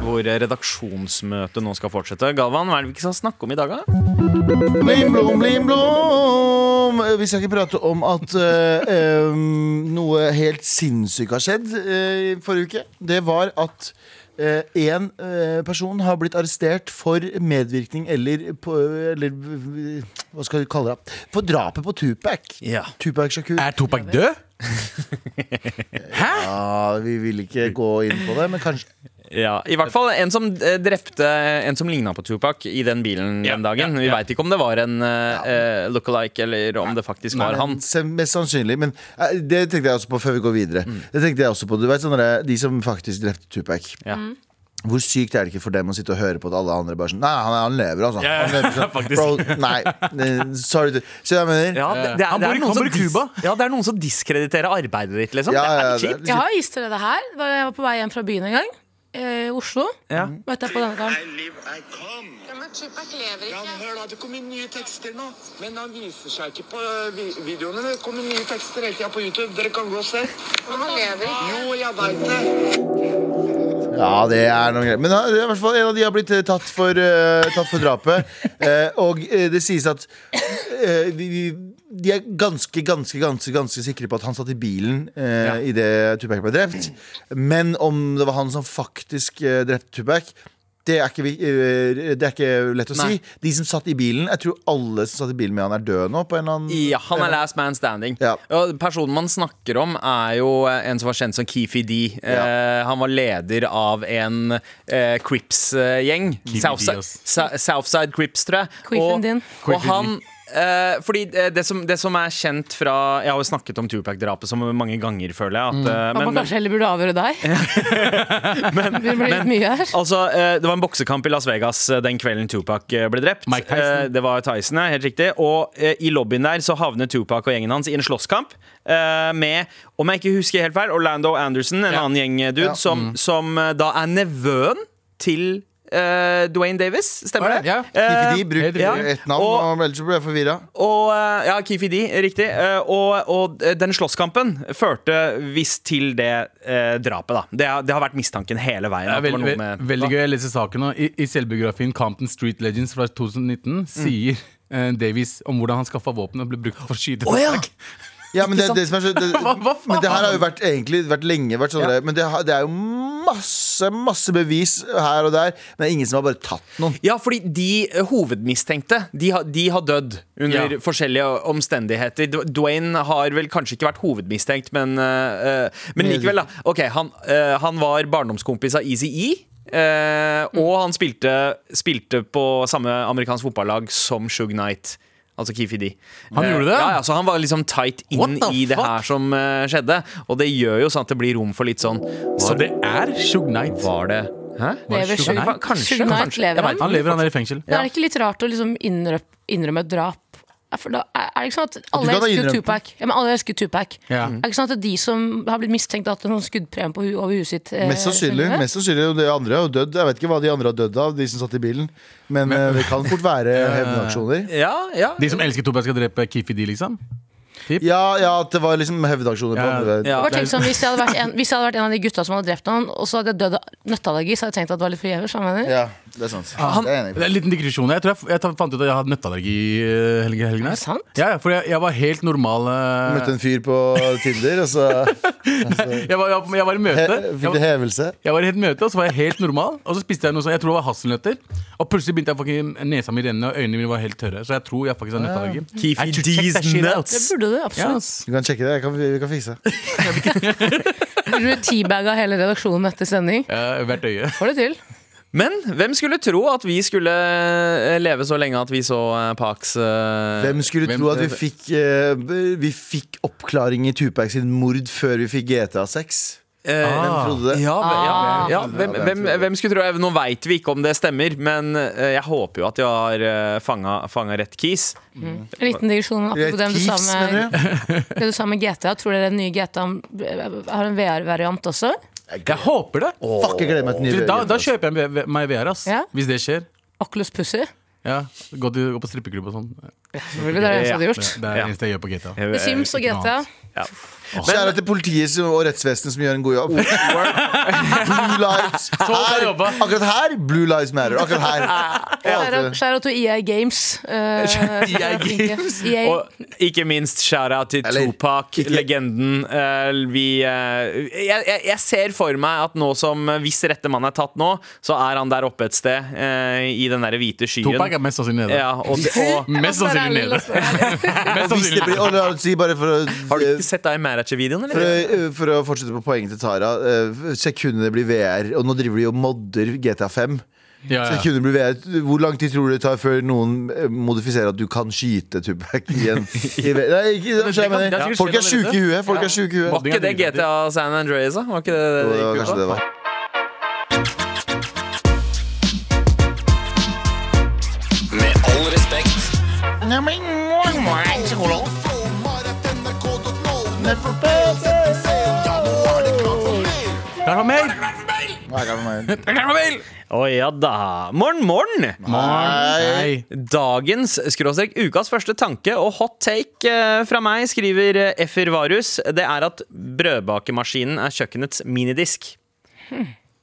Hvor redaksjonsmøtet nå skal fortsette. Galvan, hva er det vi ikke skal snakke om i dag, da? Blim, blom, blim, blom. Eh, Vi skal ikke prate om at eh, em, noe helt sinnssykt har skjedd eh, i forrige uke. Det var at én person har blitt arrestert for medvirkning eller, på, eller eh, Hva skal vi kalle det? For drapet på Tupac. Ja. Tupac Shakur. Er Topak død? Ja, vi vil ikke gå inn på det, men kanskje Ja, I hvert fall en som eh, drepte en som ligna på Tupac i den bilen den dagen. Vi veit ikke om det var en uh, look-alike, eller om det faktisk var han. Men se- Mest sannsynlig, men eh, det tenkte jeg også på før vi går videre. Mm. Det tenkte jeg også på, du vet sånne der- De som faktisk drepte Tupac. Ja. Hvor sykt er det ikke for dem å sitte og høre på at alle andre bare sånn Nei, han, han lever, altså. han lever sånn. Bro, nei, eh, sorry. du- Så jeg mener Ja, det, det, er- Han bor i- det, er noen han som bor i Cuba. dis- ja, det er noen som diskrediterer arbeidet ditt, liksom. Ja, det er ja, litt kjipt. Jeg har vist dere det her. Da jeg var på vei hjem fra byen en gang. eh, I Oslo. Ja. Møtte jeg på denne karen. Hør da, det kommer nye tekster nå. Men han viser seg ikke på eh, vi- videoene. Det kommer nye tekster hele tida på YouTube. Dere kan gå og se. Jo, jeg veit det. Ja, det er noe greit. Men ja, i hvert fall en av de har blitt eh, tatt for, eh, tatt for drapet. Eh, og eh, det sies at eh, de, de- de er ganske, ganske, ganske ganske sikre på at han satt i bilen uh, idet Tupac ble drept. Men om det var han som faktisk eh, drepte Tupac det er, ikke, vi- eh, det er ikke lett å Nei. si. De som satt i bilen Jeg tror alle som satt i bilen med han, er døde nå. På en eller annen Ja, han er last man standing. Og personen man snakker om, er jo en som var kjent som Keefe D. Eh, han var leder av en eh, Crips-gjeng. Keefe D, Southside, ass. Sa- Southside Crips, tror jeg. Queefen Og- din. Og han eh, fordi eh, det som, det som er kjent fra Jeg har jo snakket om Tupac-drapet som mange ganger, føler jeg. At, eh, At man men, kanskje heller burde avhøre deg. det blir litt mye her. Altså, eh, Det var en boksekamp i Las Vegas eh, den kvelden Tupac eh, ble drept. Mike Tyson. Eh, Det var Tyson, ja, helt riktig. Og eh, i lobbyen der så havnet Tupac og gjengen hans i en slåsskamp eh, med, om jeg ikke husker helt feil, Orlando Anderson, en annen gjengdude, Ja. som, Mm. som eh, da er nevøen til eh, Dwayne Davis, stemmer det? Ja. Eh, De bruker ja. ett navn, Og- og ellers blir jeg forvirra. og, eh, ja, Keefe D, riktig. Eh, Og, og den slåsskampen førte visst til det eh, drapet, da. Det, har- det har vært mistanken hele veien. Det at er det var veldig, noe med- ve- veldig gøy å lese saken. nå. I, I selvbiografien Compton Street Legends fra Mm. 2019 sier eh, Davies om hvordan han skaffa våpen og ble brukt for å skyte. Å, ja. Ja, men det, det som er så det, hva faen? Men det her har jo vært egentlig vært lenge vært sånn der, Men det, har- det er jo masse, masse bevis her og der Men det er ingen som har bare tatt noen Ja, fordi de eh, hovedmistenkte De, har- de har dødd under Ja. forskjellige omstendigheter. D- Dwayne har vel kanskje ikke vært hovedmistenkt, men, eh, eh, men likevel, da. Ok, Han, eh, han var barndomskompis av Easy E. eh, Mm. og han spilte, spilte på samme amerikansk fotballag som Shug Knight. Altså Keefe D. Han gjorde det? Ja, ja, så han var liksom tight inn What the i det fuck? her som eh, skjedde. Og det gjør jo sånn at det blir rom for litt sånn Så det er Shug Knight. Var det Hæ? Var Lever Suge Suge- Knight? Kanskje, Suge Knight kanskje. lever Jeg han. vet Han lever, han er i fengsel. Men er det ikke litt rart å liksom innrøp- innrømme et drap? Ja, For da, er er det ikke sånn at Alle kan ha elsker jo innrømt det. Tupac. Ja, men alle elsker Tupac. Ja. Er det ikke sånn at de som har blitt mistenkt, har hatt en sånn skuddpremie på hu over huet sitt? eh, Mest sannsynlig, senere? mest sannsynlig og de andre er jo dødd Jeg vet ikke hva de andre har dødd av, de som satt i bilen Men, eh, det kan fort være hevnaksjoner Ja, ja. De som elsker Tobakk, skal drepe Kifi D, liksom? Ja, ja, at det var liksom hevnaksjoner på Ja. andre Ja. Bare tenk sånn, hvis jeg, hadde vært en, hvis jeg hadde vært en av de gutta som hadde drept han, og så hadde jeg dødd av nøtteallergi, så hadde jeg tenkt at det var litt forgjeves. skjønner du hva jeg mener? Ja, det er sant Det er jeg Det enig i. er en liten digresjon. Jeg tror jeg, jeg ta- fant ut at jeg hadde nøtteallergi eh, helgen. helgen her. det sant? Ja, ja, for jeg, jeg var helt normal. eh, Møtte en fyr på Tinder, og så jeg, var, jeg, jeg var i he, møte. Jeg fikk det var, hevelse jeg var i et møte, og så var jeg helt normal. Og så spiste jeg noe sånn, jeg tror det var hasselnøtter. Og plutselig begynte jeg fucking nesa mi renne, og øynene mine var helt tørre. Så jeg tror jeg faktisk har nøtteallergi. Keefe I should check D's that shit out. Det burde du Ja, absolutt. ass. Du kan sjekke det, jeg kan, vi kan fikse det Burde du teabagga hele redaksjonen etter sending? Ja, hvert øye. Får det til. Men hvem skulle tro at vi skulle eh, leve så lenge at vi så eh, Pax eh, Hvem skulle Hvem- tro at vi fikk, eh, b- vi fikk oppklaring i Tupac sin mord før vi fikk GTA 6? eh, Hvem Ah. trodde det? ja, ve- ja, ja, hvem, Ja, hvem, hvem skulle tro Nå veit vi ikke om det stemmer, men eh, jeg håper jo at de har eh, fanga, fanga rett keys. En liten digresjon apropos det du sa Keeps, med mener du? Det du sa med GTA, tror dere den nye GTA har en VR-variant også? Jeg håper det. Fuck, jeg gleder meg til nye Da, da Jørgen. kjøper jeg meg- meg VR, ass. Ja. Hvis det skjer. Oculus Pussy? Ja, Gå, til, gå på strippeklubb og sånn. Selvfølgelig, det er det eneste jeg hadde Det, gjort. det er Ja. det eneste jeg gjør på GTA. Med Sims og Ikke noe GTA. annet. Kjære til politiet som- og rettsvesenet som gjør en god jobb. Blue lives her, jobba. Akkurat her, Blue lives matter. Akkurat her. Shout-out- Shout-out to EA Games. eh, EA Games. EA. Eh, Og ikke minst skjæra til Eller, Tupac, ikke- legenden. eh, vi, eh, jeg, jeg, jeg ser for meg at nå som eh, hvis rette mann er tatt nå, så er han der oppe et sted eh, i den derre hvite skyen. Topak er mest sannsynlig nede. ja, og, og, Mest sannsynlig nede. Mest Og hvis det sannsynlig blir, nede. og la oss si bare for å eh, Har du ikke sett deg i Maracha-videoen, for eller? å, eh, for å fortsette på poenget til Tara. eh, Sekundene blir VR, og nå driver de og modder GTA 5. Ja, ja. Sekunder blir VR. Hvor lang tid tror du det tar før noen eh, modifiserer at du kan skyte Tupac igjen? I VR? Nei, ikke, sant, det jeg kan- det mener. er sikkert Folk er skjedd sjuke i allerede. huet. Folk er syke i huet. Var ikke det GTA San Andreas, da? Var ikke det det, Jo, det det var gikk ut kanskje på? det det var. Med all respekt. Klar for mer? Nei, det var meg. Klar for mer? Å ja da. Morgen, morgen! Nei. Nei. Dagens skråstrek ukas første tanke og hot take eh, fra meg, skriver eh, Effer Varus, det er at brødbakemaskinen er kjøkkenets minidisk.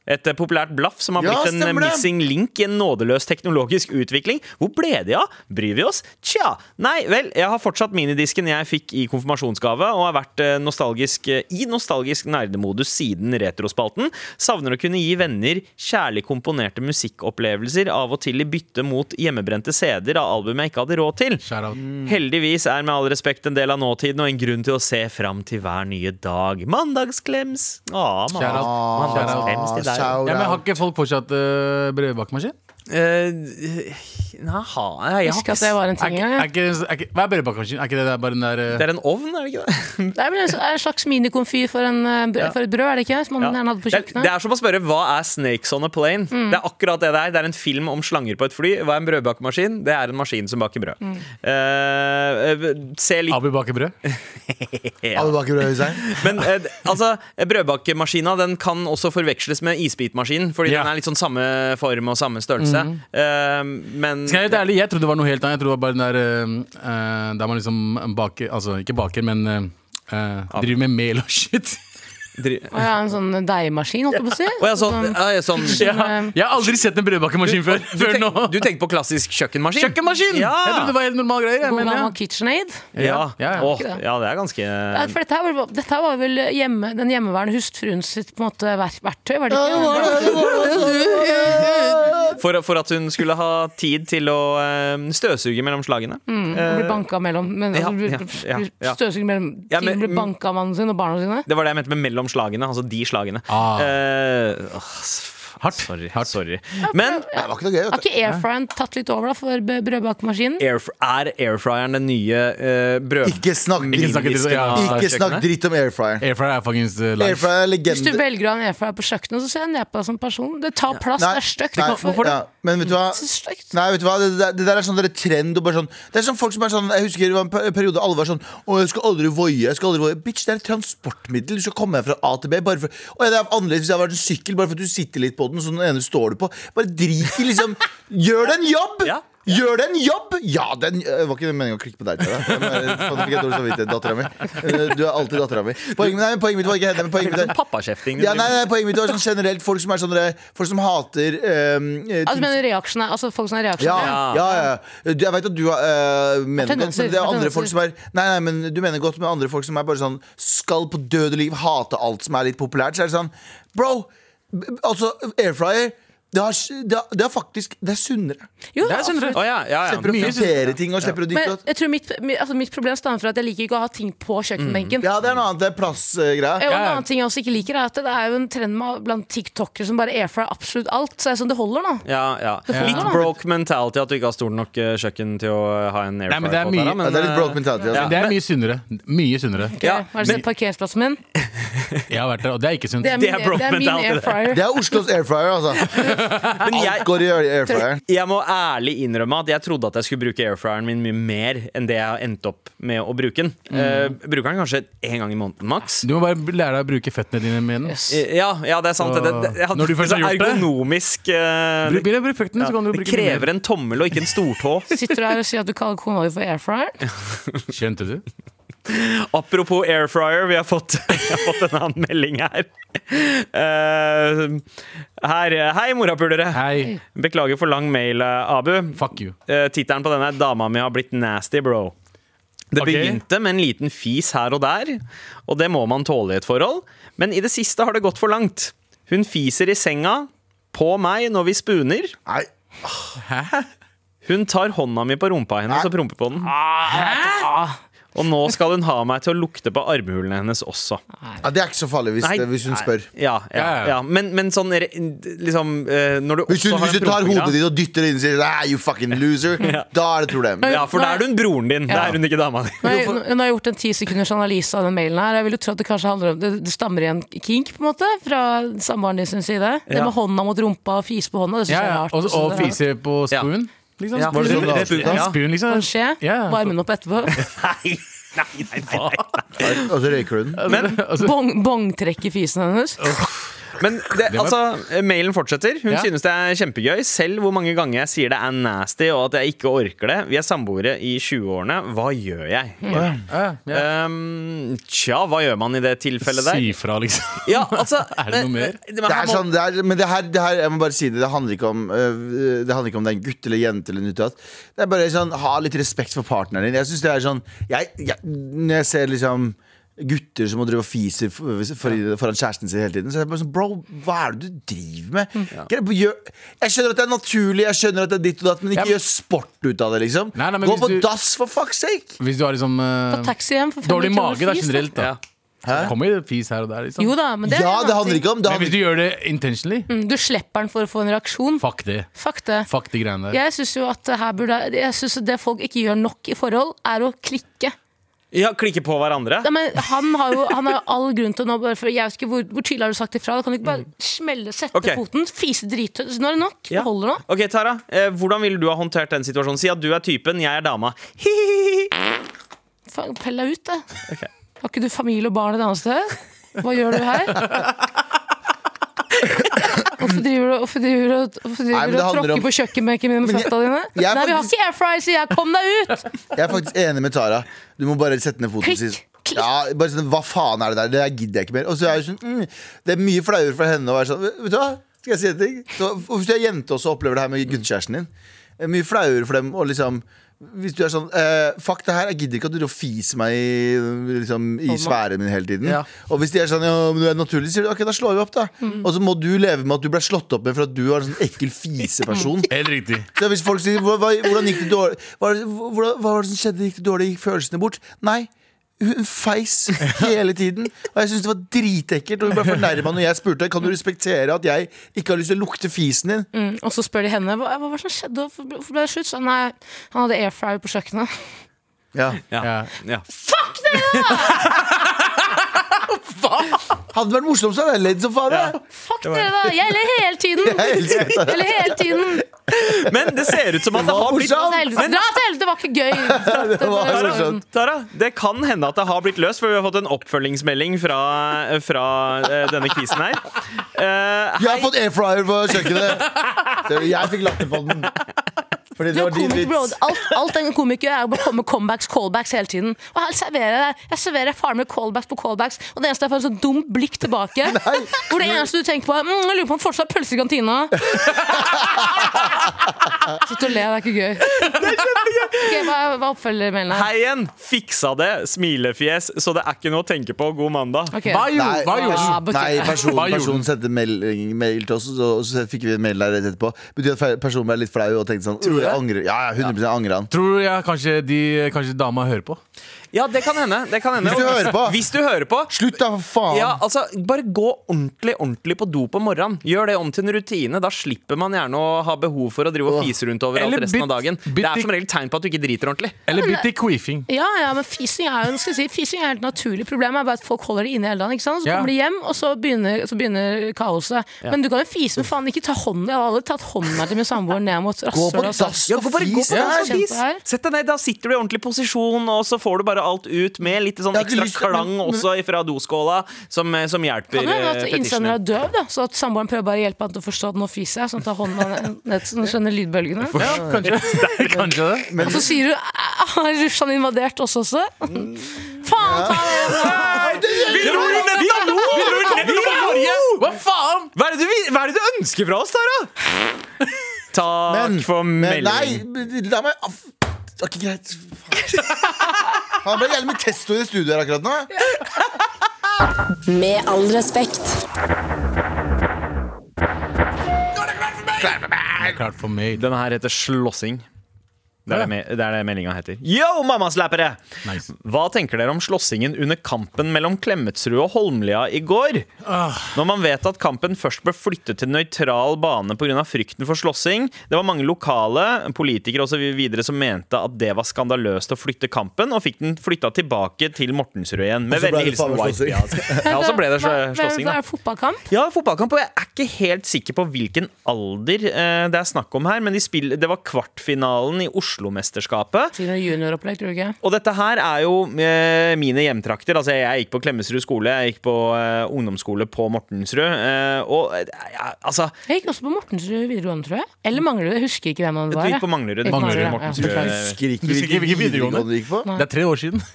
Et eh, populært blaff som har Ja, blitt en eh, stemmer det. missing link i en nådeløs teknologisk utvikling. Hvor ble de av? Bryr vi oss? Tja, nei vel. Jeg har fortsatt minidisken jeg fikk i konfirmasjonsgave, og har vært eh, nostalgisk eh, i nostalgisk nerdemodus siden retrospalten. Savner å kunne gi venner kjærlig komponerte musikkopplevelser, av og til i bytte mot hjemmebrente CD-er av album jeg ikke hadde råd til. Mm, Heldigvis er med all respekt en del av nåtiden og en grunn til å se fram til hver nye dag. Mandagsklems! Å, Shout out. mandagsklems til deg. Ja, men Har ikke folk fortsatt uh, brevbakemaskin? Eh, Nei, ha- jeg har Husker ikke at det var en Er, ting ikke- engang. er, ja. ikke- er, ikke- hva er brevbakemaskin? Er ikke det der bare den der eh, Det er en ovn, er det ikke det? Det er vel en er en slags minikomfyr for, en, eh, brød, for et brød, er det ikke? Som man Ja. gjerne hadde Det, på er- det kjøkkenet. Mm. er som å spørre hva er Snakes on a Plane? Det er akkurat det det er. Det er en film om slanger på et fly. Hva er en brødbakemaskin? Det er en maskin som baker brød. Mm. Eh, eh, se litt Abu baker brød? Ja. Alle baker brød, Hussein. Men eh, altså, brødbakemaskina den kan også forveksles med isbitmaskinen, fordi Ja. den er litt sånn samme form og samme størrelse. Mm. Eh, men Skal jeg være helt ærlig, jeg trodde det var noe helt annet. Jeg trodde det var bare den der eh, eh, Der man liksom baker Altså ikke baker, men eh, eh, driver med mel og shit. Dri- Å ja, en sånn deigmaskin, holdt jeg på å si. Å ja, sånn, ja, ja, sånn. Ja, jeg har aldri sett en brødbakemaskin før, Du, før nå. tenk, du tenker på klassisk kjøkkenmaskin? Kjøkkenmaskin! Ja. Jeg trodde det var helt normale greier. jeg, God men ja. gammel KitchenAid. Ja, Ja, ja. Åh, Ikke det. ja det er ganske Ja, for dette, her var, dette her var vel hjemme, den hjemmeværende hustfruen sitt på en måte, ver- verktøy, var det ikke? for, for at hun skulle ha tid til å eh, støvsuge mellom slagene. Å bli banka mellom men, Ja, altså, bli- ja, ja, ja. Støvsugd mellom Ja, ja, men- Bli banka av mannen sin og barna sine. Det var det jeg mente med mellom slagene. Altså de slagene. Ah. Eh, åh, s- Hardt. Sorry. Hardt. sorry. Men Nei, det var ikke noe gøy, Har vet du. ikke airfryeren tatt litt over da for b- brødbakemaskinen? air, er airfryeren den nye uh, brød... Ikke snakk Ikke snakk dritt, Minidisken ja. av Ikke snakk kjøkkenet? dritt om air fryer. Airfryer er fuckings eh, Air life. fryer er Hvis du legende. velger å ha en airfryer på kjøkkenet, så ser jeg ned på deg som person. Det tar plass, det er stygt. nei, Hvorfor det? ja, Men vet du hva? Det er stygt. Nei, vet du hva? Det, der- det der er sånn der trend og bare sånn, Det er sånn folk som er sånn Jeg husker det var en per- periode alle var sånn Å, jeg skal aldri voie. Jeg skal aldri voie. Bitch, det er et transportmiddel. Du skal komme deg fra A til B. Bare for, å, ja, det er annerledes hvis jeg har vært en sykkel, bare for at du sitter litt på den, så den ene står du på. Bare drit i liksom Gjør det en jobb! Ja. Gjør det en jobb! Ja, den øh, Det var ikke meningen å klikke på deg. Tara. Jeg bare- faen, fikk jeg dårlig samvittighet, dattera mi. Eh, Du er alltid dattera mi. Poenget, nei, men poenget mitt var ikke henne. men Poenget mitt Sånn var Pappakjefting. ja, nei, nei, poenget mitt var sånn generelt folk som, er sånne, folk som hater um, eh, Altså, mener reaksjene, altså folk som er ja, reaksjonære? ja, ja. Du, jeg vet at du har, eh, mener godt, Tendenser, men det er andre tendenser. folk som er Nei, nei, men du mener godt med andre folk som er bare sånn Skal på død og liv hate alt som er litt populært. Så er det sånn Bro! b- Altså, air fryer det, har, det, har, det har faktisk Det er sunnere. Jo, Det er sånn absolutt. Å, ja, ja, ja. Slipper å fritere ting og slipper å Men dytte og jeg tror mitt, mi- altså, mitt problem stammer fra at jeg liker ikke å ha ting på kjøkkenbenken. Mm. Ja, det er noe annet. Det er plassgreie. Eh, Og en Ja, ja. annen ting jeg også ikke liker, er at det er jo en trend med, blant tiktokere som bare airfryer absolutt alt. Så jeg er sånn, det holder nå. Ja, ja. Litt broke mentality at du ikke har stort nok eh, kjøkken til å ha en Nei, airfryer men det er på. mye- Tara, Ja, det er litt eh, broke mentality. Altså. Ja. Det er mye sunnere. Mye sunnere. Ok, Ja, Hva er det som er parkeringsplassen min? Jeg har vært der, og det er ikke sunt. Det er min, er broke det er min mentality, det. airfryer. Det er Oslos air fryer, altså. Men jeg, Alt går i air fryer. Jeg må ærlig innrømme at jeg trodde at jeg skulle bruke airfryeren min mye mer enn det jeg har endt opp med å bruke den. Mm. Eh, bruker den kanskje én gang i måneden maks. Du må bare lære deg å bruke føttene dine med den. Yes. Eh, Ja, ja, det er sant. Det, det, jeg hadde Når du ikke først har så gjort det. ergonomisk eh, Bruk, bruk føttene, så ja, kan du Det bruke krever en tommel og ikke en stortå. Sitter du her og sier at du kaller kona di for airfryer? mer. Skjønte du? Apropos airfryer, vi har fått, jeg har fått en annen melding her. Eh, her hei, morapulere. Hei, Beklager for lang mail, eh, Abu. fuck you. Eh, Tittelen på denne er 'Dama mi har blitt nasty, bro'. Det Ok. begynte med en liten fis her og der, og det må man tåle i et forhold. Men i det siste har det gått for langt. Hun fiser i senga, på meg når vi spooner. Nei, Hun tar hånda mi på rumpa hennes og promper på den. Og nå skal hun ha meg til å lukte på armhulene hennes også. ja, det er ikke så farlig hvis, Nei. det, hvis hun spør. Ja, ja, ja. Men, men sånn re- liksom eh, Når du Hvis også hun, har hvis hun en tar prompegreie- hodet ditt og dytter det inn og sier Nei, you fucking loser, da er det et problem. Ja, for da er hun broren din. Da er hun ikke dama di. Nå har jeg- nå har jeg gjort en ti sekunders analyse av den mailen her. Jeg vil jo tro at det kanskje handler om Det, det stammer i en kink, på en måte, fra samboeren din sin side. Det Ja. med hånda mot rumpa og fise på hånda, det syns Ja, jeg er ja. rart. altså. Og, og Så det- fise på spoon. Liksom. Ja. Spoon, Var det sånn det rett- avslutta? ja, spoon, liksom. Kan skje. Ja, ja. Varmen opp etterpå. Nei, nei, nei, nei, nei. Og så røyker du den. Altså, Bong, bongtrekk i fisen hennes. Men det, Det var- altså, mailen fortsetter. Hun Ja. synes det er kjempegøy, selv hvor mange ganger jeg sier det er nasty og at jeg ikke orker det. Vi er samboere i 20-årene. Hva gjør jeg? Mm. Um, tja, hva gjør man i det tilfellet der? Si fra, liksom. Ja, altså Er det noe mer? Det, Det her er må- sånn, det er, men det her, det her, jeg må bare si det, det handler ikke om øh, Det handler ikke om det er en gutt eller jente eller noe annet. Det er bare sånn, ha litt respekt for partneren din. Jeg synes det er sånn jeg, jeg, Når jeg ser liksom gutter som må drive og fise for, for, foran kjæresten sin hele tiden, så er jeg bare sånn Bro, hva er det du driver med? Mm. Greit, gjør- Jeg skjønner at det er naturlig, jeg skjønner at det er ditt og datt, men ikke Ja, men- gjør sport ut av det, liksom. Nei, nei, men Gå hvis på du- dass, for fuckks sake! Hvis du har liksom eh, Ta taxi hjem for 500 dårlig mage, da, fis, da. generelt, da. Hæ? Kommer fis her og der, liksom. Jo da, men det er Ja, en det annen handler ting. ikke om det. Men Handler, hvis du gjør det intentionally, Mm, Du slipper den for å få en reaksjon. fuck det. Fuck det. Fuck de greiene der. Jeg syns jo at her burde Jeg synes at det folk ikke gjør nok i forhold, er å klikke. Ja, klikke på hverandre. Nei, men han har jo han har jo all grunn til å nå bare for Jeg vet ikke hvor, hvor tydelig har du sagt ifra? Da kan du ikke bare smelle, sette Mm. Ok. foten, fise drithøyt. Nå er det nok. Ja. Det holder nå. Ok, Tara, eh, Hvordan ville du ha håndtert den situasjonen? Si at du er typen, jeg er dama. Hihihi. Faen, Pell deg ut, da. Har ikke du familie og barn et annet sted? Hva gjør du her? Hvorfor driver du hvorfor driver du, Nei, men hvorfor driver du det og handler tråkker om- på kjøkkenbenken min med Men jeg- føtta dine? jeg er Nei, vi har faktisk- ikke air fryer, sier jeg! Kom deg ut! jeg er faktisk enig med Tara. Du må bare sette ned foten og si Klikk, klikk. ja, bare sånn, Hva faen er det der? Det der gidder jeg ikke mer. Og så er jeg sånn, mm, Det er mye flauere for henne å være sånn Vet du hva? Skal jeg si en ting? Så, og hvis du er jente også og opplever det her med guttekjæresten din, det er mye flauere for dem å liksom hvis du er sånn eh, Fuck det her, jeg gidder ikke at du driver og fiser meg i, liksom, i sfæren min hele tiden. Ja. Og hvis de er sånn ja, men du er naturlig, sier du ok, da slår vi opp, da. Mm. Og så må du leve med at du ble slått opp med for at du var en sånn ekkel fiseperson. Helt riktig. Så hvis folk sier hva, hva, hvordan gikk det dårlig hva, hva, hva var det som skjedde, gikk det dårlig, gikk følelsene bort? Nei, hun feis hele tiden Og jeg syntes det var dritekkelt Og hun ble fornærmet når jeg spurte Kan du respektere at jeg ikke har lyst til å lukte fisen din? Mm, og så spør de henne hva, hva var det som skjedde, hvorfor ble- hvorfor ble det slutt? Så nei, han hadde air fryer på kjøkkenet. Ja. Ja. Ja. Hadde det vært morsomt så hadde jeg ledd som faen jeg. Fuck dere, da! Jeg ler hele tiden! Jeg elsker det. Jeg ler hele tiden! Men det ser ut som at det var har blitt morsomt. Dra til helvete! Dra til helvete, det var ikke gøy! Det var sånn, morsomt. Tara, det kan hende at det har blitt løst, for vi har fått en oppfølgingsmelding fra, fra eh, denne quizen her. Eh, Jeg har fått airfryer på kjøkkenet Så Jeg fikk latter på den Fordi Du det er var din komiker, bro. vits Alt, alt en komiker gjør, er å bare komme med comebacks, callbacks hele tiden. Og her serverer jeg Jeg serverer faren min callbacks på callbacks, og det eneste er for en sånn dumt blikk tilbake. Hvor det eneste du tenker på, er mm, 'Jeg lurer på om fortsatt har pølser i kantina'. Slutt å le, det er ikke gøy. Det er kjempegøy Hva hva er oppfølgermailen her? Hei igjen! Fiksa det, smilefjes, så det er ikke noe å tenke på. God mandag. Ok. Hva gjorde Nei, hva gjorde Ah, du? betyr- Nei, personen, Hva gjorde personen sendte melding, mail til oss, og så, og så fikk vi en mail der rett etterpå. Betyr at fe- personen ble litt flau og tenkte sånn du «Åh, jeg det? angrer. Ja, ja, 100 angrer han. Tror jeg kanskje, de, kanskje dama hører på? Ja, det kan hende. Det kan hende. Hvis du hører på. Hvis du hører på Slutt, da, for faen! ja, altså, bare gå ordentlig ordentlig på do på morgenen. Gjør det om til en rutine. Da slipper man gjerne å ha behov for å drive og fise rundt overalt Eller resten av bytt- dagen. bytt Det er i- som regel tegn på at du ikke driter ordentlig. Eller bytt i queefing? Ja, ja, men fising er jo nå skal jeg si, fising er helt naturlig. Problemet er bare at folk holder det inne hele dagen. ikke sant? Så Ja. kommer de hjem, og så begynner, så begynner kaoset. Men du kan jo fise, men faen, ikke ta hånden. Jeg har aldri tatt hånden til min samboer ned mot Gå på rasshølet. altså. dass Ja, og gå bare, gå fis! på Jeg Ja, dass og kjempe fis. her. Sett deg ned, da sitter du i ordentlig posisjon, og så får du bare alt ut med litt sånn Jeg har ikke ekstra lyst til- klang men- men- også fra doskåla, som, eh, som hjelper Kan det hende at eh, innsender fetisjene. er døv, da, så at samboeren prøver bare å hjelpe han til å forstå at nå fiser jeg, sånn at hånda ned, ned, så han skjønner lydbølgene. Ja, kanskje. kanskje det. Og så sier du "Ah, Har Russland invadert oss også? Mm. Faen ta det! Vi dro jo nettopp nå! Vi dro jo nettopp på forrige! Hva faen? Hva er det du, vil- hva er det du ønsker fra oss, Tara? Takk Men- for men- meldingen. Nei, la meg aff, Det var ikke greit. Faen. Han ble jævlig mye testo i det studioet her akkurat nå. Med all respekt. Det er klart for meg. Denne her heter slåssing. Det er Ja. det, me- det, er det meldinga heter. Yo, mammaslappere! Nice. Hva tenker dere om slåssingen under kampen mellom Klemetsrud og Holmlia i går? Ah. Når man vet at kampen først ble flyttet til nøytral bane pga. frykten for slåssing Det var mange lokale politikere og så videre som mente at det var skandaløst å flytte kampen, og fikk den flytta tilbake til Mortensrud igjen. Med Og så ble vennlig det faen meg hilsen altså. White slåssing. Beard. Ja, og så ble det Hva- hva- slåssing, da. Er det fotballkamp? Ja, fotballkamp, og jeg er ikke helt sikker på hvilken alder eh, det er snakk om her, men de spill, det var kvartfinalen i Oslo Oslo-mesterskapet. Til noe junioropplegg, tror du ikke? Og dette her er jo eh, mine hjemtrakter. Altså, jeg gikk på Klemetsrud skole. Jeg gikk på eh, ungdomsskole på Mortensrud. eh, og eh, ja, altså Jeg gikk også på Mortensrud videregående, tror jeg. Eller Manglerud. Jeg husker ikke hvem han Du var. gikk jeg. på Manglerud. Jeg gikk på Manglerud, Mortensrud. ja. Eh, Husker ikke Du husker ikke hvilken videregående? du gikk på? Nei. Det er tre år siden.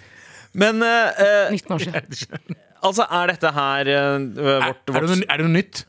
Men eh, eh, 19 år siden. altså, er dette her eh, Er, vårt, er, det, vårt noe, er det noe nytt?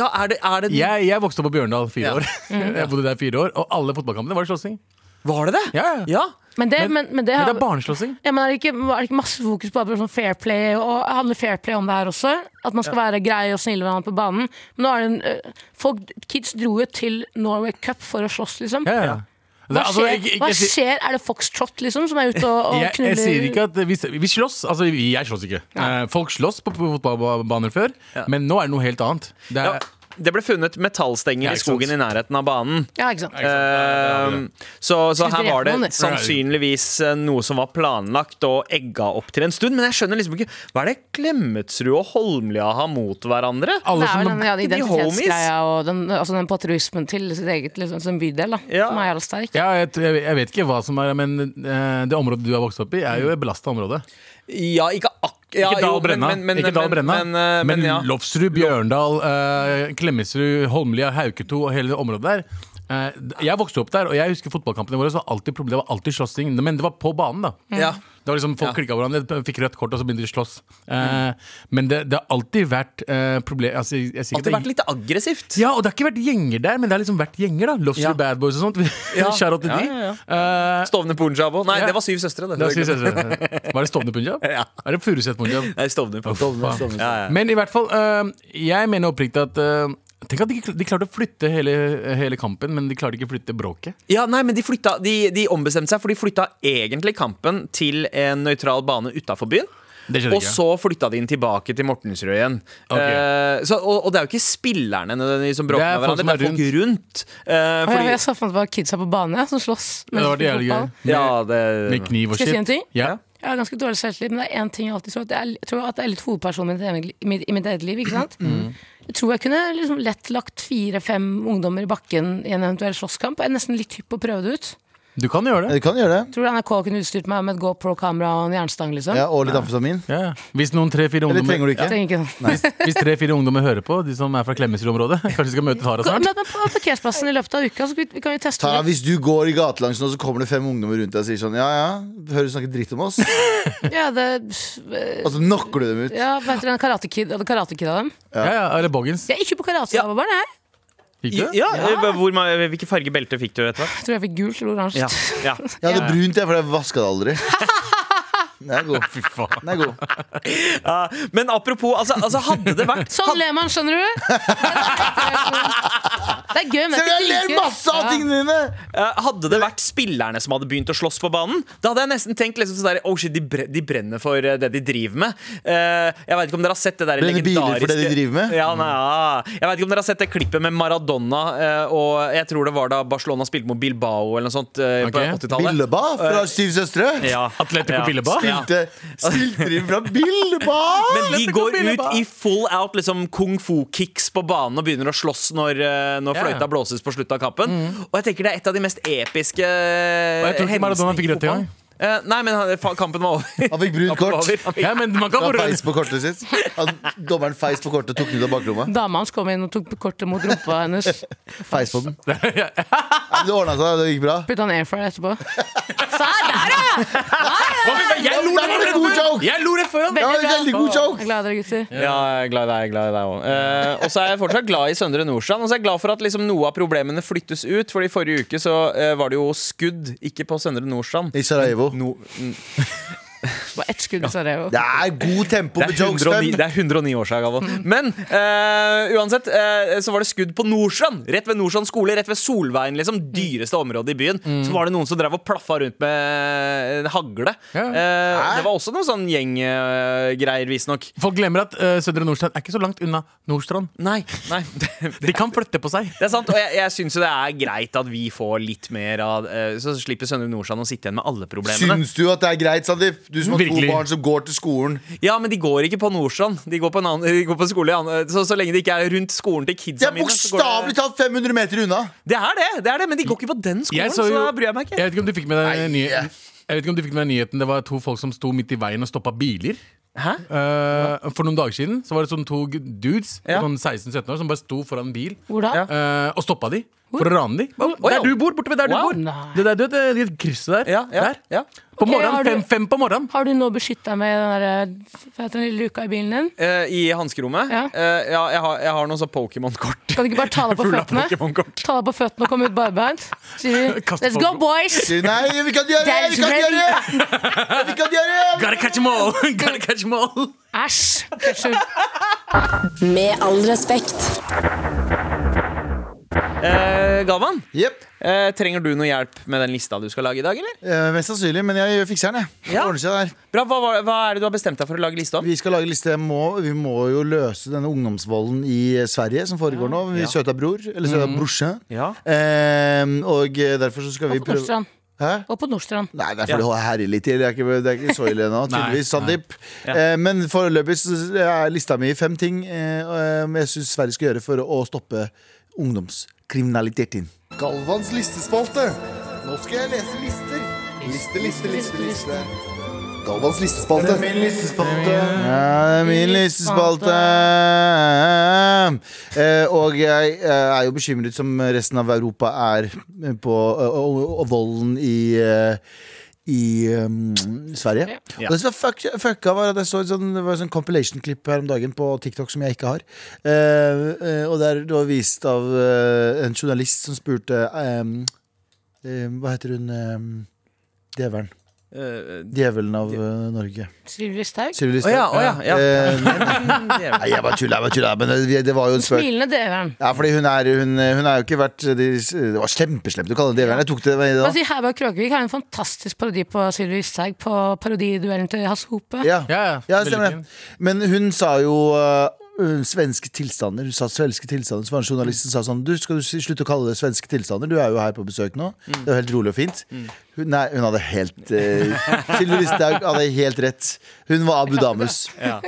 Ja, er det, er det Jeg, jeg vokste opp på Bjørndal fire år. Jeg bodde der fire år, Og alle fotballkampene var slåssing. Var det det? Ja, ja. Ja. Men det, men, men det, Men har, det er barneslåssing. ja, men er det, ikke, er det ikke masse fokus på bare sånn fair play? Og handler fair play om det her også? At man skal være grei og snill med hverandre på banen? Men nå er det en, øh, folk, Kids dro jo til Norway Cup for å slåss, liksom. Ja, ja. Det er- Hva altså, skjer? ikke- ikke- Hva jeg sier- skjer? Er det Foxtrot liksom som er ute og, og jeg, knuller jeg sier ikke at vi, vi slåss. Altså, vi, jeg slåss ikke. Eh, folk slåss på, på fotballbaner før, men nå er det noe helt annet. Det er, Ja, det ble funnet metallstenger Ja, i ikke sant. skogen i nærheten av banen. Ja, ikke sant? Ehm, så, så Skulle her drepe var noen, det det. sannsynligvis eh, noe som var planlagt og egga opp til en stund. Men jeg skjønner liksom ikke Hva er det Klemetsrud og Holmlia har mot hverandre? Det alle er vel som, den ja, den de homies. identitetsgreia og den, altså den patriotismen til sitt eget liksom, sin bydel, da, Ja. som er jævla sterk. ja, jeg, jeg, jeg vet ikke hva som er, men eh, det området du har vokst opp i, er jo et belasta område. Ja, ikke akk... Ja, ikke jo, Dal men- Brenna. men- men- ikke Dal men- Brenna. Men, eh, men, ja. Lofsrud, Bjørndal, eh, Klemetsrud, Holmlia, Hauketo og hele det området der. Eh, jeg vokste opp der, og jeg husker fotballkampene våre. Så var det alltid problem, det var alltid slåssing. Men det var på banen, da. Ja. Mm. Det var liksom Folk klikka hverandre, fikk rødt kort, og så begynte de å slåss. Eh, men det, det har alltid vært eh, problem... Altså, jeg, jeg sier ikke Alltid det- vært litt aggressivt. ja, og det har ikke vært gjenger der, men det har liksom vært gjenger. da Lofsrud Ja. Bad Boys og sånt. Ja. Shout out til Ja, de. ja, Eh, Stovne Punjabo. Nei, Ja. det var Syv søstre. Det. det var- var det Stovner Punjab? Ja. Er det Furuset Punjab? Nei, Stovner Uff, Punjab. faen. Ja, ja. Men i hvert fall, øh, jeg mener oppriktig at øh, Tenk at de, ikke kl- de klarte å flytte hele, hele kampen, men de klarte ikke å flytte bråket. Ja, nei, men de, flytta, de, de ombestemte seg, for de flytta egentlig kampen til en nøytral bane utafor byen. Det skjedde Og ikke. så flytta de inn tilbake til Mortensrud igjen. Ok. Eh, så, og, og det er jo ikke spillerne nødvendigvis som bråker Det er med folk hverandre, det er som er folk rundt. Eh, Og jeg, fordi, jeg så for meg at det var kidsa på banen ja, som slåss. Det var det jævlig gøy. fotball. Med, ja, det, med kniv og Skal jeg si en shit. ting? Ja. Jeg har ganske dårlig selvtillit, men det er én ting jeg alltid tror. At jeg, er- jeg tror at jeg er litt hovedpersonen i mitt eget- i mitt, i mitt eget liv. ikke sant? Jeg tror jeg kunne liksom lett lagt fire-fem ungdommer i bakken i en eventuell slåsskamp. Jeg er nesten litt hypp på å prøve det ut. Du kan gjøre det. Du kan gjøre det. Tror du NRK kunne utstyrt meg med et GoPro-kamera og en jernstang? liksom? Ja, og litt amfetamin. Ja. Hvis noen tre-fire Eller trenger ungdommer, du ikke? Jeg trenger ikke det. hvis tre-fire ungdommer hører på, de som er fra Klemetsrud-området Kanskje de skal møte Tara Gå- snart? Møt meg på parkeringsplassen i løpet av uka, så kan vi- kan vi teste Tara, det. hvis du går i gatelangs nå, så kommer det fem ungdommer rundt deg og sier sånn Ja, ja, hører du snakker dritt om oss? Og Ja, det, så knocker du dem ut. ja, hva heter den Karate Kid og Karate Kid av dem? Ja, ja, Eller Boggins. Jeg er ikke på karate, ja. barn, jeg. Gikk ja, det? ja, eh, Hvor, ma- hvilke farge belte fikk du etter hvert? Jeg tror jeg fikk gult eller oransje. Ja, ja. Jeg hadde brunt, jeg, for jeg vaska det aldri. Den er god. Fy faen. Den er god. Ja, Men apropos, altså, altså hadde det vært Sånn ler man, skjønner du? Det er gøy, men det Ser du, er jeg ikke ler like gøy. masse av tingene dine! Eh, Hadde det vært spillerne som hadde begynt å slåss på banen, da hadde jeg nesten tenkt liksom sånn der, oh shit, de, bre de brenner for eh, det de driver med. Eh, jeg vet ikke om dere har sett det der Brenner biler for det de legendariske- driver med? Mm. Ja, nei, ja. Jeg vet ikke om dere har sett det klippet med Maradona eh, og jeg tror det var da Barcelona spilte mot Bilbao eller noe sånt eh, på Ok. 80-tallet. Billeba fra Syv søstre. Ja. Atletico Bilbao? Spilte, spilte de fra Billeba? Men de går ut Bilbao. i full out liksom kung fu-kicks på banen og begynner å slåss når, eh, når Ja. Mm. fløyta blåses på slutten av kampen. Og jeg tenker det er et av de mest episke Og jeg tror ikke hendelsene Maradona i fikk rødt fotballen. engang. Eh, nei, men han- fa- kampen var over. Han fikk brunt Kampen var kort. over. Han fikk- Ja, men man kan Han få rødt. feis på kortet sitt. Han, dommeren feis på kortet og tok den ut av baklomma. Dama hans kom inn og tok kortet mot rumpa hennes. Feis på den. Ja, men det ordna seg, det gikk bra. Putta en airfryer etterpå. Se der, ja! Ja, men det var en god joke! Jeg lo rett før han! Det var en Veldig veldig god Jeg er joke! glad i dere, gutter. Ja, jeg er glad i deg, jeg er glad i deg også. Eh, og så er jeg fortsatt glad i Søndre Nordstrand. Og så er jeg glad for at liksom noe av problemene flyttes ut. For i forrige uke så eh, var det jo skudd, ikke på Søndre Nordstrand. I Sarajevo. No, Bare ett skudd i Sarajevo. Det er god tempo det, på er jokes, 109, Fem. det er 109 år siden, Galvan. Men eh, uansett, eh, så var det skudd på Nordstrand. Rett ved Nordstrand skole, rett ved Solveien. liksom Dyreste området i byen. Mm. Så var det noen som drev og plaffa rundt med en hagle. Ja. Eh, det var også noen sånn gjenggreier, eh, visstnok. Folk glemmer at øh, Søndre Nordstrand er ikke så langt unna Nordstrand. Nei, nei. De kan flytte på seg. Det er sant, og jeg, jeg syns jo det er greit at vi får litt mer av eh, Så slipper Søndre Nordstrand å sitte igjen med alle problemene. Syns du at det er greit, Sandeep? Du som har to barn som går til skolen. Ja, men de går ikke på Nordstrand. De går på, en annen, de går på skole i annen, så, så lenge det ikke er rundt skolen til Det kidsa er mine. så går bokstavelig talt 500 meter unna! Det er det, det er det, men de går ikke på den skolen, Jeg så, så jo- da bryr jeg meg ikke. Jeg vet ikke om du fikk med deg nyheten. Jeg vet ikke om du fikk med deg nyheten Det var to folk som sto midt i veien og stoppa biler. Hæ? Eh, for noen dager siden Så var det sånn to g- dudes sånn 16-17 år som bare sto foran en bil Hvor da? eh, og stoppa de. For å rane de. Oi, Der ja. du bor, borte ved der Wow. du bor. Nei. Det der, det, det, det krysset der. Ja, ja, der. ja. På Ok, morgenen, har du- fem, fem på morgenen. Har du nå beskytta med den der, hva heter den lille luka i bilen din? Eh, I hanskerommet? Ja. Eh, ja jeg, har, jeg har noen sånn Pokémon-kort. Kan du ikke bare ta deg på Full av føttene? Pokémon-kort. Ta deg på føttene og komme ut barbeint? Sier du, Kaste Let's go, Pokémon. boys! Sier, Nei, vi kan gjøre det! Vi kan Dad's gjøre det! Vi kan gjøre det! Gotta catch them all! Gotta catch them all! Æsj! Unnskyld. Med all respekt. Eh, Galvan, Jep. eh, trenger du noe hjelp med den lista du skal lage i dag, eller? Eh, mest sannsynlig, men jeg fikser den. jeg Det Ja. ordner seg der Bra, hva, var- hva er det du har bestemt deg for å lage liste om? Vi skal lage liste. Jeg Må, vi må jo løse denne ungdomsvolden i eh, Sverige som foregår nå. Vi søta bror, eller søta brorsan. Mm. Ja. Ehm, og eh, derfor så skal vi Gå på prøve Nordstrand. Hæ? Gå på Nordstrand. Nei, det er fordi jeg herjer litt til. Det er ikke, det er ikke så ille ennå, Nei, tydeligvis. Sandeep. Eh, men foreløpig så er lista mi fem ting eh, eh, jeg syns Sverige skal gjøre for å stoppe ungdomskriminaliteten. Galvans listespalte. Nå skal jeg lese lister. Liste, liste, liste, liste. Galvans listespalte. Det er min listespalte. Ja, det er min listespalte. Eh, Og jeg eh, er jo bekymret, som resten av Europa er, eh, på eh, og- og volden i eh, i um, Sverige. Og det som var fuck, fucka, var at jeg så et sånn, det var et sånn compilation-klipp her om dagen på TikTok som jeg ikke har. Eh, eh, og der det var vist av eh, en journalist som spurte ehm, eh, Hva heter hun ehm, Djevelen. Djevelen av eh, Norge. Sylvi Listhaug. Sylvi Å ja, Listhaug. å ja, ja. Eh, Djevel. Nei, jeg bare tulla, jeg bare tulla. Men eh, det, det var jo en spøk. Smilende døveren. Ja, fordi hun er hun, eh, hun er jo ikke vært de, Det var kjempeslemt å kalle det Djevelen. Jeg tok det med i dag. Altså, Herberg Kråkevik har en fantastisk parodi på Sylvi Listhaug på parodiduellen til Hasse Hope. Ja. Ja, Ja, det veldig stemmer fin. det. Men hun sa jo øh, svenske tilstander. Hun sa svenske tilstander Så var det en journalist som sa sånn Du, skal du si- slutte å kalle det svenske tilstander? Du er jo her på besøk nå. Det er jo helt rolig og fint. Hun, nei, hun hadde helt uh, Sylvi Listhaug hadde helt rett. Hun var Abu Damus. Ja.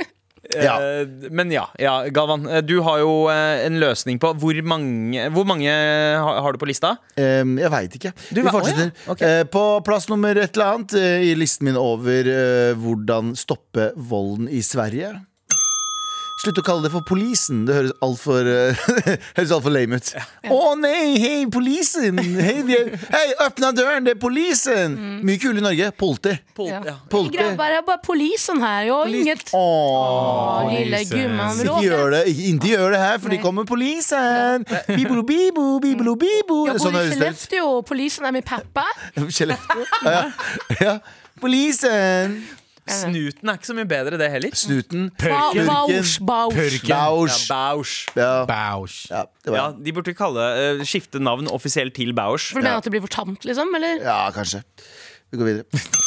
Eh, men ja, ja, Galvan, eh, du har jo eh, en løsning på hvor mange, hvor mange har, har du på lista? Ehm, jeg veit ikke. Du Vi vet- fortsetter. Å, ja. Ok. Eh, på plass nummer et eller annet eh, i listen min over eh, hvordan stoppe volden i Sverige. Slutt å kalle det for polisen. Det høres altfor uh, Høres alt for lame ut. Å nei, hei, polisen! Hei, vi er- hei, åpna døren, det er polisen! Mm. Mye kulere i Norge. Politi. Pol Ja. ja. Politi. Grabbar, det er bare polisen her, jo. Inget Åh, Å, lille Jesus. gumman Ikke gjør det, ikke, ikke gjør det her, for Nei. de kommer polisen! Bibo, bibo, bibo, bibo. Jeg Sånn bor i høres det ut. Skellefteå, polisen er min pappa. Skellefteå? Ja. ja. Polisen! Snuten er ikke så mye bedre, det heller. Snuten. Ba- Purken. Bausch, bausch. Ja, Bausch. Bausch. Ja. Bausch. Ja, det Ja, var de burde kalle, eh, skifte navn offisielt til Bausch. For du mener at det blir for tamt, liksom? Eller? Ja, kanskje. Vi går videre.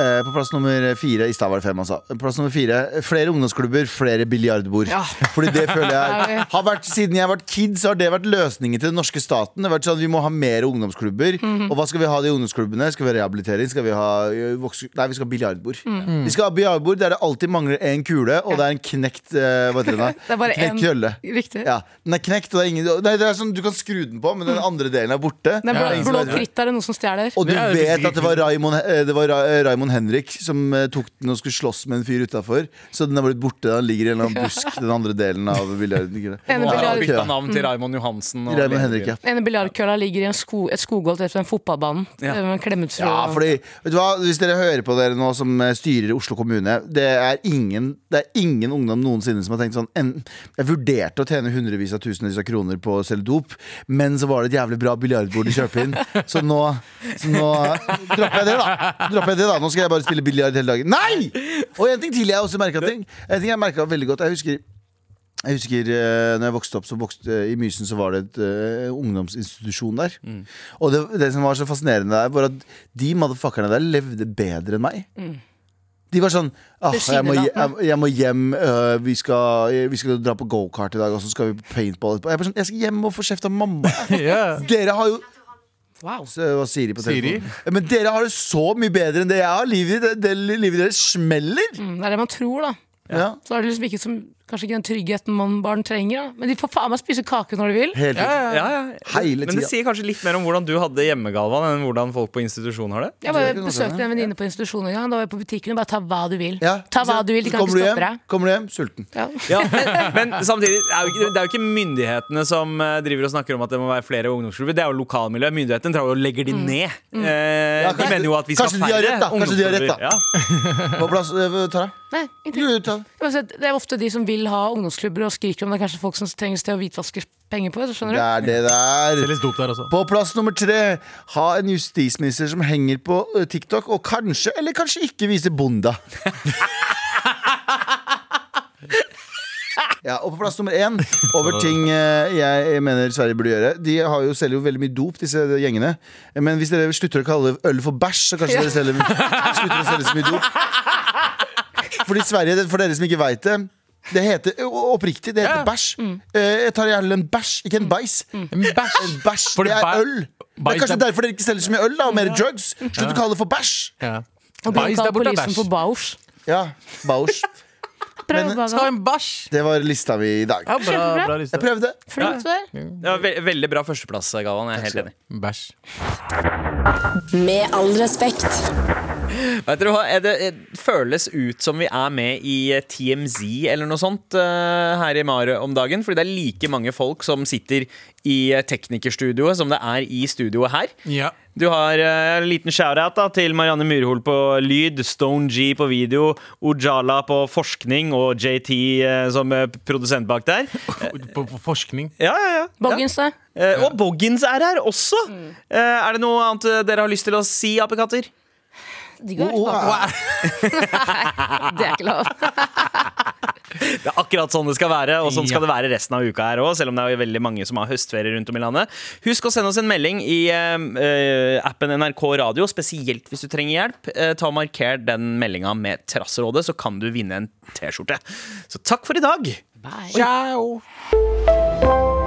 Eh, På plass nummer fire i stad var det fem, altså. På plass nummer fire, Flere ungdomsklubber, flere biljardbord. Ja. Fordi det føler jeg Ja. har vært Siden jeg har vært kid, så har det vært løsningen til den norske staten. Det har vært sånn, Vi må ha mer ungdomsklubber. Mhm. Og hva skal vi ha i de ungdomsklubbene? Skal vi ha rehabilitering? Skal vi ha ø, vokse... Nei, vi skal ha biljardbord. Mhm. Vi skal ha biljardbord der det alltid mangler én kule, og det er en knekt eh, Hva heter det? Det er bare knekt en- kølle. Riktig. Ja, den er knekt, og det er ingen Nei, det er sånn, du kan skru den på, men den andre delen er borte. Den Ja, blå, ja. Ingen som blå vet- kritt er det noen som stjeler. og du Det er jo vet virkelig at det var Raimond, eh, det var Ra- eh, Raimond Henrik som eh, tok den og skulle slåss med en fyr utafor. Så den er blitt borte. Den ligger i en eller annen busk, den andre delen av biljarden. En Ja, biljard- og bytta navn til Raymond Johansen. og- Raimond Henrik, ja. Den ene biljardkølla ligger i en sko, et skogholt rett ved en fotballbane. Ja. Det var en Klemetsrud. Ja, fordi, vet du hva? Hvis dere hører på dere nå som eh, styrer Oslo kommune Det er ingen, det er ingen ungdom noensinne som har tenkt sånn en, Jeg vurderte å tjene hundrevis av tusenvis av kroner på å selge dop Men så var det et jævlig bra biljardbord de kjøper inn Så nå, så nå dropper jeg det da Dropper jeg det da, nå skal jeg bare spille biljard hele dagen Nei! Og en ting til jeg også merket ting En ting jeg merket veldig godt, jeg husker jeg husker eh, når jeg vokste opp, så vokste, eh, i Mysen så var det et eh, ungdomsinstitusjon der. Og det, det som var så fascinerende der, var at de motherfuckerne der levde bedre enn meg. De var sånn ah, jeg, må, jeg, jeg må hjem, øh, vi, skal, vi skal dra på gokart i dag, og så skal vi på paintball etterpå. Jeg, er bare sånn, jeg skal hjem og få kjeft av mamma. Ja. Dere har jo Så det var Siri på Siri? telefonen. Men dere har det så mye bedre enn det jeg har. Livet, det, det, livet deres smeller. Mm, det er det man tror, da. Ja. Så er det liksom ikke som, kanskje ikke den tryggheten man barn trenger. Da. Men de får faen meg spise kake når de vil. Hele tiden. Ja, ja, ja. Hele Men det tida. sier kanskje litt mer om hvordan du hadde det hjemme, Galvan, enn hvordan folk på institusjon har det. Jeg Det bare er ikke noe sånn, besøkte en venninne på institusjonen en gang. Da var jeg på butikken og bare ta hva du vil. Ja, Ta hva så- du vil, de så kan kommer ikke du hjem, stoppe deg. Kommer du hjem, sulten. Ja. Ja, men, men samtidig, det er, jo ikke, det er jo ikke myndighetene som eh, driver og snakker om at det må være flere ungdomsklubber. Det er jo lokalmiljø. Myndighetene drar jo og legger de ned. Eh, Mm. Ja, de kanskje- mener jo at vi skal kanskje ha de har færre rett, da. Kanskje de har rett, da. ungdomsklubber. Ja. Hva plass, eh, Tara? Nei, ingenting. Du, Tara. Uansett, Det er ofte de som vil ha ungdomsklubber og skriker om det. er Kanskje folk som trenger et sted å hvitvaske penger på. Så Det skjønner du? er det der. Selges dop der også. På plass nummer tre, ha en justisminister som henger på eh, TikTok og kanskje, eller kanskje ikke viser bonda. Ja, og på plass nummer én, over ting eh, jeg mener Sverige burde gjøre. De har jo, selger jo veldig mye dop, disse gjengene. Men hvis dere slutter å kalle øl for bæsj, så kanskje dere selger, slutter å selge så mye dop. Fordi Sverige, det- for dere som ikke veit det det heter ø- oppriktig, det heter bæsj. Eh, Jeg tar gjerne en bæsj, ikke en bæsj. En bæsj. En bæsj, Fordi det bæ- er øl. Det bæsj er er- kanskje derfor dere ikke selger så mye øl da, og mer drugs. Slutt å kalle det for bæsj. Ja. Og Bæsj bruker der borte er polisen bæsj. for bausj. Ja, bæsj. Prøv Men- bare. en bæsj. Det var lista mi i dag. Ja, bra, Kjempebra. bra Jeg liste. prøvde. Flott du er. Det var ve veldig bra førsteplass, Galvan. Jeg er helt enig. Bæsj. Med all respekt. Vet dere hva? Er det, det føles ut som vi er med i eh, TMZ eller noe sånt eh, her i Mare om dagen. Fordi det er like mange folk som sitter i eh, teknikerstudioet som det er i studioet her. Ja. Du har eh, en liten shout-out da, til Marianne Myrhol på lyd, Stone G på video, Ojala på forskning og JT eh, som eh, produsent bak der. På, på forskning. Ja, ja, ja. Boggins, da. Eh, og Boggins er her også! Eh, er det noe annet eh, dere har lyst til å si, apekatter? Digg å være tilbake. Nei, det er ikke lov. Det er akkurat sånn det skal være, og sånn skal det være resten av uka her òg. Selv om det er jo veldig mange som har høstferie rundt om i landet. Husk å sende oss en melding i eh, eh, appen NRK Radio, spesielt hvis du trenger hjelp. Eh, ta og Marker den meldinga med Trassrådet, så kan du vinne en T-skjorte. Så takk for i dag.